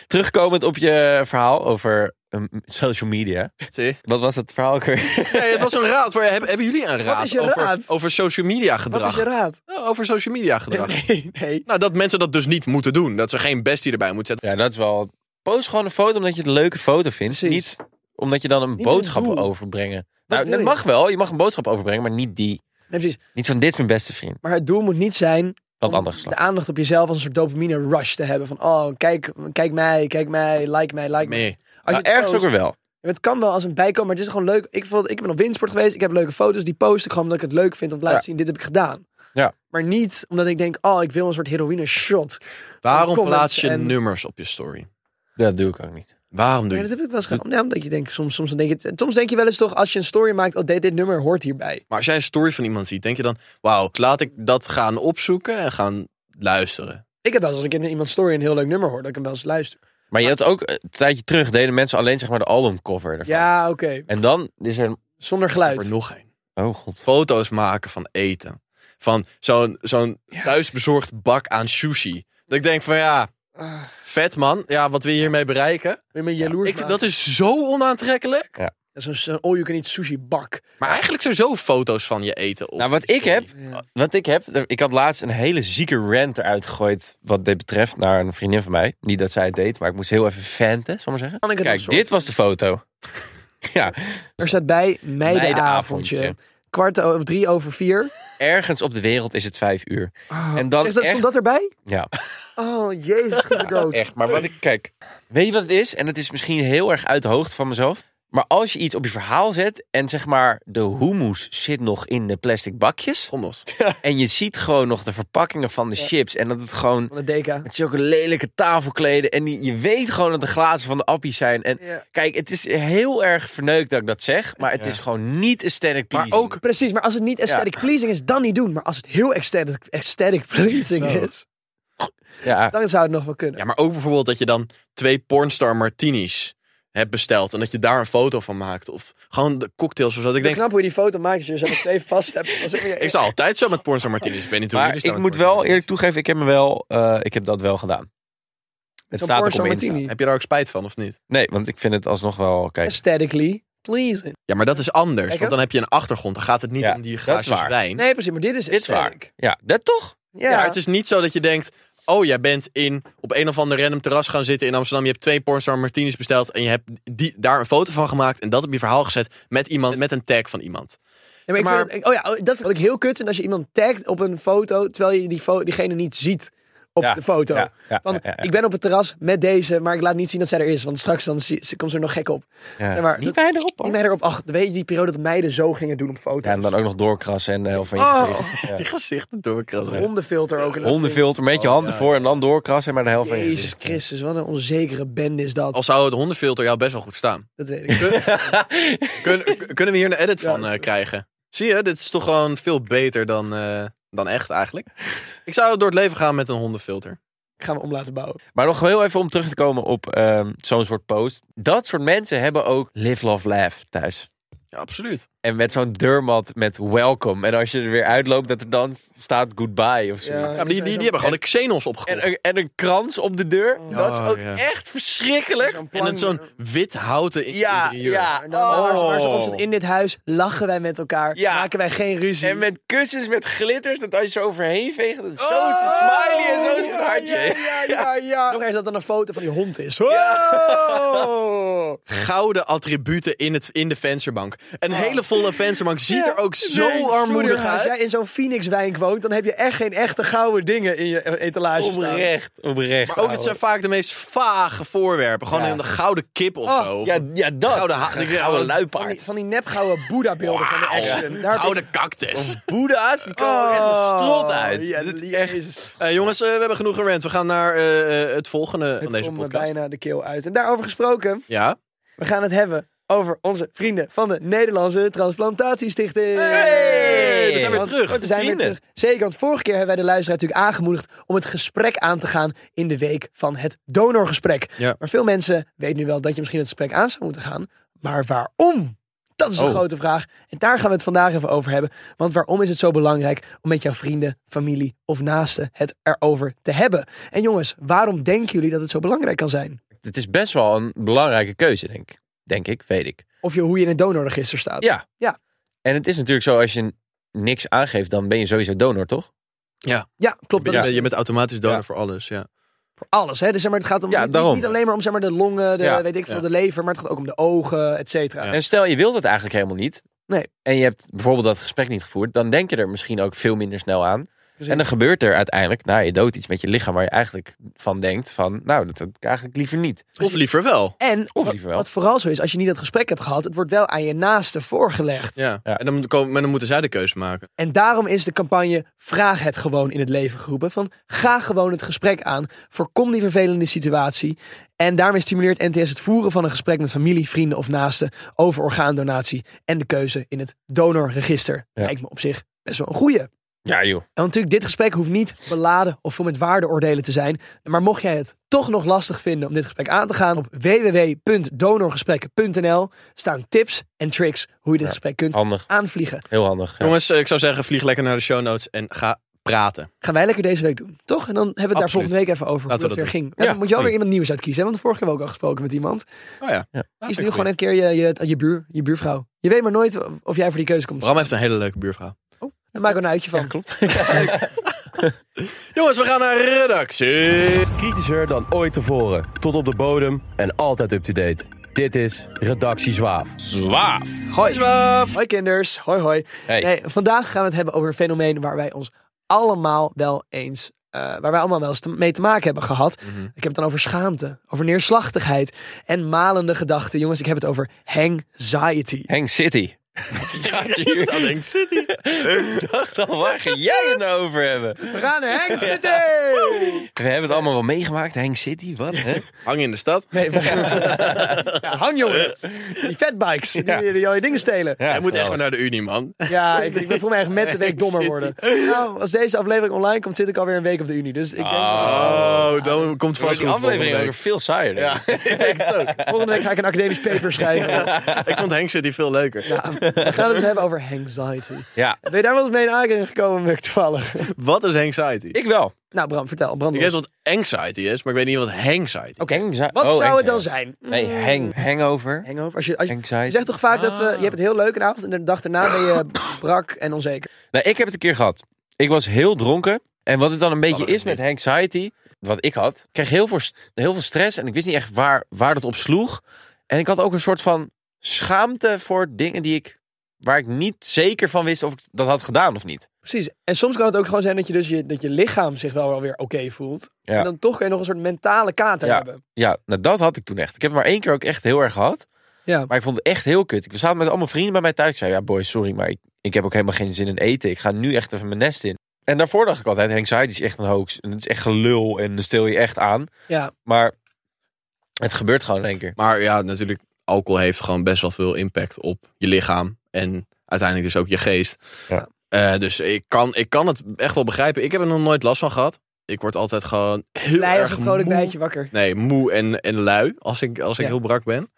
[SPEAKER 1] Terugkomend op je verhaal over ehm, social media.
[SPEAKER 3] Zie?
[SPEAKER 1] Wat was dat verhaal ook weer?
[SPEAKER 3] Nee, het was een raad. Voor, hebben, hebben jullie een raad,
[SPEAKER 2] is je
[SPEAKER 3] over,
[SPEAKER 2] raad?
[SPEAKER 3] over social media
[SPEAKER 2] Wat is
[SPEAKER 3] gedrag?
[SPEAKER 2] je raad?
[SPEAKER 3] Nou, over social media gedrag.
[SPEAKER 2] [LAUGHS] Nee, nee.
[SPEAKER 3] Nou, dat mensen dat dus niet moeten doen. Dat ze geen bestie erbij moeten zetten.
[SPEAKER 1] Ja, dat is wel... Post gewoon een foto omdat je het een leuke foto vindt.
[SPEAKER 2] Precies.
[SPEAKER 1] Niet omdat je dan een
[SPEAKER 2] Niet
[SPEAKER 1] boodschap
[SPEAKER 2] een
[SPEAKER 1] wil
[SPEAKER 2] doel.
[SPEAKER 1] overbrengen. Nou,
[SPEAKER 2] wil
[SPEAKER 1] dat
[SPEAKER 2] je?
[SPEAKER 1] mag wel. Je mag een boodschap overbrengen, maar niet die.
[SPEAKER 2] Nee, precies.
[SPEAKER 1] Niet van dit is mijn beste vriend.
[SPEAKER 2] Maar het doel moet niet zijn
[SPEAKER 1] Dat
[SPEAKER 2] om
[SPEAKER 1] andere geslacht.
[SPEAKER 2] de aandacht op jezelf als een soort dopamine rush te hebben. Van oh, kijk, kijk mij, kijk mij, like mij, like mij.
[SPEAKER 3] Nee.
[SPEAKER 2] Als
[SPEAKER 1] Nou, ergens ook weer wel.
[SPEAKER 2] Het kan wel als een bijkomen, maar het is gewoon leuk. Ik, bijvoorbeeld, ik ben op windsport geweest, ik heb leuke foto's, die post ik gewoon omdat ik het leuk vind om te laten
[SPEAKER 1] Ja.
[SPEAKER 2] zien, dit heb ik gedaan.
[SPEAKER 1] Ja.
[SPEAKER 2] Maar niet omdat ik denk, oh, ik wil een soort heroïne shot.
[SPEAKER 3] Waarom
[SPEAKER 2] Comments
[SPEAKER 3] plaats je
[SPEAKER 2] en-
[SPEAKER 3] nummers op je story?
[SPEAKER 1] Dat doe ik ook niet.
[SPEAKER 3] Waarom doe
[SPEAKER 2] Nee,
[SPEAKER 3] je
[SPEAKER 2] dat
[SPEAKER 3] dat?
[SPEAKER 2] heb ik wel eens gedaan. Nee, omdat je denkt, soms, soms, dan denk je, soms denk je wel eens toch, als je een story maakt, oh, dit, dit nummer hoort hierbij.
[SPEAKER 3] Maar als jij een story van iemand ziet, denk je dan... Wauw, laat ik dat gaan opzoeken en gaan luisteren.
[SPEAKER 2] Ik heb wel eens als ik in iemands story een heel leuk nummer hoor, dat ik hem wel eens luister.
[SPEAKER 1] Maar je had ook een tijdje terug deden mensen alleen zeg maar de albumcover ervan.
[SPEAKER 2] Ja, oké.
[SPEAKER 1] En dan is er een...
[SPEAKER 2] Zonder
[SPEAKER 3] Ik heb
[SPEAKER 2] geluid.
[SPEAKER 3] er nog één.
[SPEAKER 1] Oh god.
[SPEAKER 3] Foto's maken van eten. Van zo'n zo'n thuisbezorgd bak aan sushi. Dat ik denk van ja,
[SPEAKER 2] Ah,
[SPEAKER 3] vet man. Ja, wat wil je hiermee bereiken?
[SPEAKER 2] wil je me jaloers
[SPEAKER 3] Ik,
[SPEAKER 2] maken?
[SPEAKER 3] dat is zo onaantrekkelijk.
[SPEAKER 2] Dat Zo'n zo'n all-you-can-eat sushi bak.
[SPEAKER 3] Maar eigenlijk sowieso foto's van je eten op.
[SPEAKER 1] Nou, wat ik heb,
[SPEAKER 2] Ja.
[SPEAKER 1] wat ik heb, er- ik had laatst een hele zieke rant eruit gegooid wat dit betreft naar een vriendin van mij. Niet dat zij het deed, maar ik moest heel even fanten, zal ik maar
[SPEAKER 2] Kan
[SPEAKER 1] zeggen.
[SPEAKER 2] ik het
[SPEAKER 1] Kijk,
[SPEAKER 2] nog soort-
[SPEAKER 1] dit was de
[SPEAKER 2] [LAUGHS]
[SPEAKER 1] foto. ja,
[SPEAKER 2] Er staat bij meidenavondje.
[SPEAKER 1] Meidenavondje.
[SPEAKER 2] Kwart over drie over vier.
[SPEAKER 1] ergens op de wereld is het vijf uur. En dan
[SPEAKER 2] Ah, Zeg, dat,
[SPEAKER 1] echt,
[SPEAKER 2] stond dat erbij?
[SPEAKER 1] ja,
[SPEAKER 2] Oh, jezus, goed dood.
[SPEAKER 1] echt. Maar wat ik kijk, weet je wat het is? En het is misschien heel erg uit de hoogte van mezelf. Maar als je iets op je verhaal zet en zeg maar de hummus zit nog in de plastic bakjes
[SPEAKER 3] Gondels.
[SPEAKER 1] en je ziet gewoon nog de verpakkingen van de chips en dat het gewoon
[SPEAKER 2] Van de DK.
[SPEAKER 1] Het is ook een lelijke tafelkleden. En die- je weet gewoon dat de glazen van de appies zijn. En
[SPEAKER 2] Ja.
[SPEAKER 1] kijk, het is heel erg verneukt dat ik dat zeg. Maar het is gewoon niet aesthetic
[SPEAKER 3] Maar
[SPEAKER 1] pleasing.
[SPEAKER 3] ook,
[SPEAKER 2] Precies, maar als het niet aesthetic pleasing is, dan niet doen. Maar als het heel aesthetic, aesthetic pleasing is,
[SPEAKER 1] Ja,
[SPEAKER 2] dan zou het nog wel kunnen.
[SPEAKER 3] ja, maar ook bijvoorbeeld dat je dan twee pornstar martinis hebt besteld. En dat je daar een foto van maakt. Of gewoon de cocktails of zo. Dat ik
[SPEAKER 2] Ik denk
[SPEAKER 3] denk,
[SPEAKER 2] knap hoe je die foto maakt als je er zo met twee vast hebt. Dat is ook
[SPEAKER 1] [LAUGHS]
[SPEAKER 2] weer-
[SPEAKER 3] ik sta altijd zo met pornstar martinis. Ik weet niet hoe
[SPEAKER 1] maar
[SPEAKER 3] jullie staan
[SPEAKER 1] ik
[SPEAKER 3] met
[SPEAKER 1] moet
[SPEAKER 3] pornstar
[SPEAKER 1] wel eerlijk toegeven, ik heb, me wel, eh, ik heb dat wel gedaan. Het
[SPEAKER 2] zo'n
[SPEAKER 1] staat ook
[SPEAKER 2] Porsche
[SPEAKER 1] op mijn Insta.
[SPEAKER 2] martini.
[SPEAKER 3] martinis. Heb je daar ook spijt van of niet?
[SPEAKER 1] Nee, want ik vind het alsnog wel... Kijk,
[SPEAKER 2] Aesthetically pleasing.
[SPEAKER 3] Ja, maar dat is anders.
[SPEAKER 2] Kijk,
[SPEAKER 3] want dan heb je een achtergrond. Dan gaat het niet
[SPEAKER 1] Ja,
[SPEAKER 3] om die
[SPEAKER 1] dat is
[SPEAKER 3] glaasjes
[SPEAKER 1] waar.
[SPEAKER 3] wijn.
[SPEAKER 2] Nee, precies, maar dit is
[SPEAKER 1] dit is waar.
[SPEAKER 2] aesthetic.
[SPEAKER 1] Ja, dat toch?
[SPEAKER 2] Ja,
[SPEAKER 3] Ja, het is niet zo dat je denkt... Oh, jij bent in, op een of ander random terras gaan zitten in Amsterdam. Je hebt twee pornstar martinis besteld. En je hebt die, daar een foto van gemaakt. En dat op je verhaal gezet met iemand, met een tag van iemand.
[SPEAKER 2] Ja, maar ik
[SPEAKER 3] maar-
[SPEAKER 2] vind het- oh ja, oh, dat vind ik heel kut vind als je iemand tagt op een foto, terwijl je die fo- diegene niet ziet op
[SPEAKER 1] Ja,
[SPEAKER 2] de foto.
[SPEAKER 1] ja, ja,
[SPEAKER 2] Van,
[SPEAKER 1] ja, ja, ja.
[SPEAKER 2] Ik ben op het terras met deze, maar ik laat niet zien dat zij er is, want straks dan zie- ze komt ze er nog gek op.
[SPEAKER 1] Ja.
[SPEAKER 2] Ja, maar
[SPEAKER 1] niet
[SPEAKER 2] dat-
[SPEAKER 1] mij erop,
[SPEAKER 2] Ik
[SPEAKER 1] hoor.
[SPEAKER 2] ben erop, ach, weet je die periode dat meiden zo gingen doen op
[SPEAKER 1] Ja,
[SPEAKER 2] foto's?
[SPEAKER 1] en dan ook nog doorkrassen en de helft van je
[SPEAKER 2] [LAUGHS] Oh.
[SPEAKER 1] gezicht. Ja.
[SPEAKER 3] Die gezichten
[SPEAKER 2] Een
[SPEAKER 3] doorkrullen.
[SPEAKER 2] Hondenfilter ook. en dat
[SPEAKER 1] Hondenfilter, met je handen voor en dan doorkrassen, maar de helft
[SPEAKER 2] soort
[SPEAKER 1] van
[SPEAKER 2] dingen.
[SPEAKER 1] je
[SPEAKER 2] Jezus
[SPEAKER 1] gezicht. [LAUGHS]
[SPEAKER 2] Christus, wat een onzekere bende is dat.
[SPEAKER 3] Al zou het hondenfilter jou best wel goed staan.
[SPEAKER 2] Dat weet ik.
[SPEAKER 1] [LAUGHS]
[SPEAKER 2] [LAUGHS]
[SPEAKER 3] Kun- k- kunnen we hier een edit van
[SPEAKER 2] dat
[SPEAKER 3] eh,
[SPEAKER 2] is-
[SPEAKER 3] krijgen? Zie je, dit is toch gewoon veel beter dan, eh, dan echt eigenlijk. Ik zou door het leven gaan met een hondenfilter.
[SPEAKER 2] Ik ga me om laten bouwen.
[SPEAKER 1] Maar nog heel even om terug te komen op ehm, zo'n soort post. Dat soort mensen hebben ook live, love, laugh thuis.
[SPEAKER 3] Ja, absoluut.
[SPEAKER 1] En met zo'n deurmat met welcome. En als je er weer uitloopt, dat er dan staat goodbye of zoiets.
[SPEAKER 2] Ja,
[SPEAKER 3] Ja, maar die, die, die hebben gewoon de Xenos opgekocht.
[SPEAKER 1] En,
[SPEAKER 3] En,
[SPEAKER 1] een, en een krans op de deur. dat is
[SPEAKER 3] Oh,
[SPEAKER 1] ook
[SPEAKER 3] ja.
[SPEAKER 1] echt verschrikkelijk.
[SPEAKER 3] het zo'n wit houten in-
[SPEAKER 1] Ja,
[SPEAKER 3] interieur.
[SPEAKER 1] ja.
[SPEAKER 2] En dan waar ze- waar ze op
[SPEAKER 1] Oh.
[SPEAKER 2] stond, in dit huis lachen wij met elkaar,
[SPEAKER 1] Ja.
[SPEAKER 2] maken wij geen ruzie.
[SPEAKER 1] En met kussens met glitters, dat als je ze overheen veegt, dat is zo is het smiley en zo is het hartje.
[SPEAKER 3] Ja, ja, ja.
[SPEAKER 2] Nog eens dat dan een foto van die hond is.
[SPEAKER 3] Wow.
[SPEAKER 2] Oh!
[SPEAKER 3] [LAUGHS] Gouden attributen in, het, in de vensterbank. Een hele volle vensterbank
[SPEAKER 2] [LAUGHS]
[SPEAKER 3] ziet er ook zo
[SPEAKER 2] Ah. Nee,
[SPEAKER 3] armoedig
[SPEAKER 2] sorry, Als
[SPEAKER 3] uit.
[SPEAKER 2] jij in zo'n Phoenix-wijk woont, dan heb je echt geen echte gouden dingen in je etalage staan.
[SPEAKER 1] Oprecht, oprecht.
[SPEAKER 3] Maar ook, het zijn vaak de meest vage voorwerpen. Gewoon
[SPEAKER 1] Ja.
[SPEAKER 3] een gouden kip of
[SPEAKER 2] Oh,
[SPEAKER 3] zo. Of
[SPEAKER 1] Ja,
[SPEAKER 3] een
[SPEAKER 1] ja, dat.
[SPEAKER 3] Gouden ha-
[SPEAKER 1] Een
[SPEAKER 3] ik-
[SPEAKER 1] gouden
[SPEAKER 2] Van die,
[SPEAKER 1] luipaard.
[SPEAKER 2] van die nepgouden Boeddha-beelden van de
[SPEAKER 3] Wauw.
[SPEAKER 2] action. Daar heb ik-
[SPEAKER 3] gouden cactus.
[SPEAKER 1] Boeddha's, die komen er echt een strot uit.
[SPEAKER 2] Oh, Ja,
[SPEAKER 1] dat is echt...
[SPEAKER 2] echt
[SPEAKER 3] [LAUGHS] Eh, jongens, eh, we hebben genoeg gerant. We gaan naar eh, eh, het volgende van deze
[SPEAKER 2] om me
[SPEAKER 3] podcast.
[SPEAKER 2] bijna de keel uit. En daarover gesproken,
[SPEAKER 3] Ja.
[SPEAKER 2] we gaan het hebben over onze vrienden van de Nederlandse Transplantatiestichting.
[SPEAKER 3] Hey, we zijn weer
[SPEAKER 2] Want
[SPEAKER 3] terug.
[SPEAKER 2] We zijn weer
[SPEAKER 1] Vrienden.
[SPEAKER 2] terug. Zeker, want vorige keer hebben wij de luisteraar natuurlijk aangemoedigd om het gesprek aan te gaan in de week van het donorgesprek.
[SPEAKER 3] Ja.
[SPEAKER 2] Maar veel mensen weten nu wel dat je misschien het gesprek aan zou moeten gaan. Maar waarom? Dat is
[SPEAKER 3] Oh.
[SPEAKER 2] de grote vraag. En daar gaan we het vandaag even over hebben. Want waarom is het zo belangrijk om met jouw vrienden, familie of naasten het erover te hebben? En jongens, waarom denken jullie dat het zo belangrijk kan zijn?
[SPEAKER 1] Het is best wel een belangrijke keuze, denk ik. Denk ik, weet ik.
[SPEAKER 2] Of je, hoe je in het donorregister staat.
[SPEAKER 1] Ja.
[SPEAKER 2] Ja.
[SPEAKER 1] En het is natuurlijk zo, als je niks aangeeft, dan ben je sowieso donor, toch?
[SPEAKER 2] Ja, klopt.
[SPEAKER 3] Je,
[SPEAKER 2] Dat is
[SPEAKER 3] bent- je bent automatisch donor
[SPEAKER 1] Ja.
[SPEAKER 3] voor alles. Ja.
[SPEAKER 2] voor alles. Hè? Dus zeg maar, het gaat om,
[SPEAKER 1] Ja,
[SPEAKER 2] niet,
[SPEAKER 1] daarom.
[SPEAKER 2] niet alleen maar om zeg maar, de longen, de,
[SPEAKER 1] Ja,
[SPEAKER 2] weet ik veel,
[SPEAKER 3] ja.
[SPEAKER 2] de lever, maar het gaat ook om de ogen, et cetera.
[SPEAKER 3] Ja.
[SPEAKER 1] En stel, je wilt het eigenlijk helemaal niet.
[SPEAKER 2] Nee.
[SPEAKER 1] En je hebt bijvoorbeeld dat gesprek niet gevoerd. Dan denk je er misschien ook veel minder snel aan.
[SPEAKER 2] Precies.
[SPEAKER 1] En dan gebeurt er uiteindelijk, nou, je doodt iets met je lichaam waar je eigenlijk van denkt van, nou, dat heb ik eigenlijk liever niet.
[SPEAKER 3] Of liever wel.
[SPEAKER 2] En
[SPEAKER 1] Of
[SPEAKER 2] wa-
[SPEAKER 1] liever wel.
[SPEAKER 2] wat vooral zo is, als je niet dat gesprek hebt gehad, het wordt wel aan je naasten voorgelegd.
[SPEAKER 3] Ja.
[SPEAKER 1] Ja.
[SPEAKER 3] En dan, komen, maar dan moeten zij de keuze maken.
[SPEAKER 2] En daarom is de campagne Vraag het gewoon in het leven geroepen. Van ga gewoon het gesprek aan. Voorkom die vervelende situatie. En daarmee stimuleert NTS het voeren van een gesprek met familie, vrienden of naasten over orgaandonatie en de keuze in het donorregister.
[SPEAKER 1] Ja.
[SPEAKER 2] Lijkt me op zich best wel een goeie.
[SPEAKER 1] Ja, joh.
[SPEAKER 2] En want natuurlijk, dit gesprek hoeft niet beladen of vol met waardeoordelen te zijn. Maar mocht jij het toch nog lastig vinden om dit gesprek aan te gaan, op www.donorgesprekken.nl staan tips en tricks hoe je dit gesprek kunt
[SPEAKER 1] Handig.
[SPEAKER 2] aanvliegen.
[SPEAKER 1] Heel handig. ja.
[SPEAKER 3] Jongens, eh, ik zou zeggen, vlieg lekker naar de show notes en ga praten.
[SPEAKER 2] Gaan wij lekker deze week doen, toch? En dan hebben we het daar
[SPEAKER 3] Absoluut.
[SPEAKER 2] volgende week even over
[SPEAKER 3] Laten
[SPEAKER 2] hoe
[SPEAKER 3] we
[SPEAKER 2] dat
[SPEAKER 3] dat
[SPEAKER 2] weer ging.
[SPEAKER 3] Ja,
[SPEAKER 2] dan moet je wel weer
[SPEAKER 3] goeie.
[SPEAKER 2] iemand nieuws uitkiezen. hè? Want de vorige keer hebben we ook al gesproken met iemand.
[SPEAKER 3] Oh ja. ja.
[SPEAKER 2] Kies nu gewoon een keer je, je, je, buur, je buurvrouw. Je weet maar nooit of jij voor die keuze komt.
[SPEAKER 3] Bram heeft een hele leuke buurvrouw.
[SPEAKER 2] Daar maak ik een uitje van.
[SPEAKER 1] klopt.
[SPEAKER 3] Jongens, we gaan naar [LAUGHS] redactie.
[SPEAKER 5] Kritischer dan ooit tevoren. Tot op de bodem en altijd up-to-date. Dit is Redactie Zwaaf.
[SPEAKER 2] Hoi. Hoi kinders. Hoi hoi.
[SPEAKER 1] Hey.
[SPEAKER 2] Nee, vandaag gaan we het hebben over een fenomeen waar wij ons allemaal wel eens... eh, waar wij allemaal wel eens te- mee te maken hebben gehad.
[SPEAKER 1] Mhm.
[SPEAKER 2] Ik heb het dan over schaamte, over neerslachtigheid en malende gedachten. Jongens, ik heb het over hangxiety.
[SPEAKER 1] Hang City.
[SPEAKER 3] Denk City.
[SPEAKER 1] Dacht al, waar ga jij het nou over hebben?
[SPEAKER 2] We gaan naar
[SPEAKER 1] [LAUGHS]
[SPEAKER 2] hangxiety!
[SPEAKER 1] We hebben het allemaal wel meegemaakt. Hang City, wat? Hè?
[SPEAKER 3] Hang in de stad.
[SPEAKER 2] Nee, we-
[SPEAKER 1] [LAUGHS]
[SPEAKER 2] ja, hang jongen. Die fatbikes, die, die, al je dingen stelen.
[SPEAKER 1] Ja,
[SPEAKER 3] [LAUGHS] Hij moet echt maar naar de Unie, man.
[SPEAKER 2] Ja, ik, ik voel me echt met de
[SPEAKER 1] [LAUGHS]
[SPEAKER 2] week dommer worden. Nou, als deze aflevering online komt, zit ik alweer een week op de Unie. Dus ik denk,
[SPEAKER 1] Ah.
[SPEAKER 3] Oh, dan komt
[SPEAKER 1] Maar
[SPEAKER 3] vast
[SPEAKER 1] die
[SPEAKER 3] goed volgende
[SPEAKER 1] aflevering
[SPEAKER 3] week.
[SPEAKER 1] ook veel saaier. denk ik.
[SPEAKER 2] volgende week ga ik een academisch paper schrijven.
[SPEAKER 1] [LAUGHS]
[SPEAKER 3] Ik vond Henk City veel leuker.
[SPEAKER 2] We gaan het dus hebben over anxiety.
[SPEAKER 1] Ja.
[SPEAKER 2] [LAUGHS] Ben je daar wel eens mee in aanraking gekomen, Muk, toevallig?
[SPEAKER 3] Wat is anxiety?
[SPEAKER 1] Ik wel.
[SPEAKER 2] Nou, Bram, vertel. Bram,
[SPEAKER 3] Ik
[SPEAKER 2] los.
[SPEAKER 3] weet wat anxiety is, maar ik weet niet wat anxiety
[SPEAKER 1] Oké. Oh,
[SPEAKER 2] Wat zou het dan zijn? Hm,
[SPEAKER 1] Nee, hang, hangover.
[SPEAKER 2] Hangover. Als je, als je,
[SPEAKER 1] Anxiety. Ah.
[SPEAKER 2] je zegt toch vaak dat we, je hebt het heel leuk een avond en de dag daarna ben je
[SPEAKER 1] [COUGHS]
[SPEAKER 2] brak en onzeker.
[SPEAKER 1] Nou, ik heb het een keer gehad. Ik was heel dronken. En wat het dan een beetje
[SPEAKER 3] dat
[SPEAKER 1] is
[SPEAKER 3] is niet.
[SPEAKER 1] met anxiety, wat ik had, ik kreeg heel veel, st- heel veel stress en ik wist niet echt waar, waar dat op sloeg. En ik had ook een soort van schaamte voor dingen die ik, waar ik niet zeker van wist of ik dat had gedaan of niet.
[SPEAKER 2] Precies. En soms kan het ook gewoon zijn dat je, dus je, dat je lichaam zich wel wel weer oké voelt.
[SPEAKER 1] Ja.
[SPEAKER 2] En dan toch kan je nog een soort mentale kater
[SPEAKER 1] Ja.
[SPEAKER 2] hebben.
[SPEAKER 1] Ja, nou dat had ik toen echt. Ik heb het maar één keer ook echt heel erg gehad.
[SPEAKER 2] Ja.
[SPEAKER 1] Maar ik vond het echt heel kut. Ik zat met allemaal vrienden bij mij thuis. Ik zei, ja boys, sorry, maar ik, ik heb ook helemaal geen zin in eten. Ik ga nu echt even mijn nest in. En daarvoor dacht ik altijd, anxiety is echt een hoax. En het is echt gelul en dan stel je echt aan.
[SPEAKER 2] Ja,
[SPEAKER 1] Maar het gebeurt gewoon in één keer.
[SPEAKER 3] Maar ja, natuurlijk, alcohol heeft gewoon best wel veel impact op je lichaam. En uiteindelijk dus ook je geest.
[SPEAKER 1] Ja.
[SPEAKER 3] Eh, dus ik kan, ik kan het echt wel begrijpen. Ik heb er nog nooit last van gehad. Ik word altijd gewoon heel
[SPEAKER 2] blij als
[SPEAKER 3] erg
[SPEAKER 2] een vrolijk
[SPEAKER 3] moe.
[SPEAKER 2] bijtje wakker.
[SPEAKER 3] Nee, moe en, en lui als ik, als ik
[SPEAKER 2] Ja.
[SPEAKER 3] heel brak ben.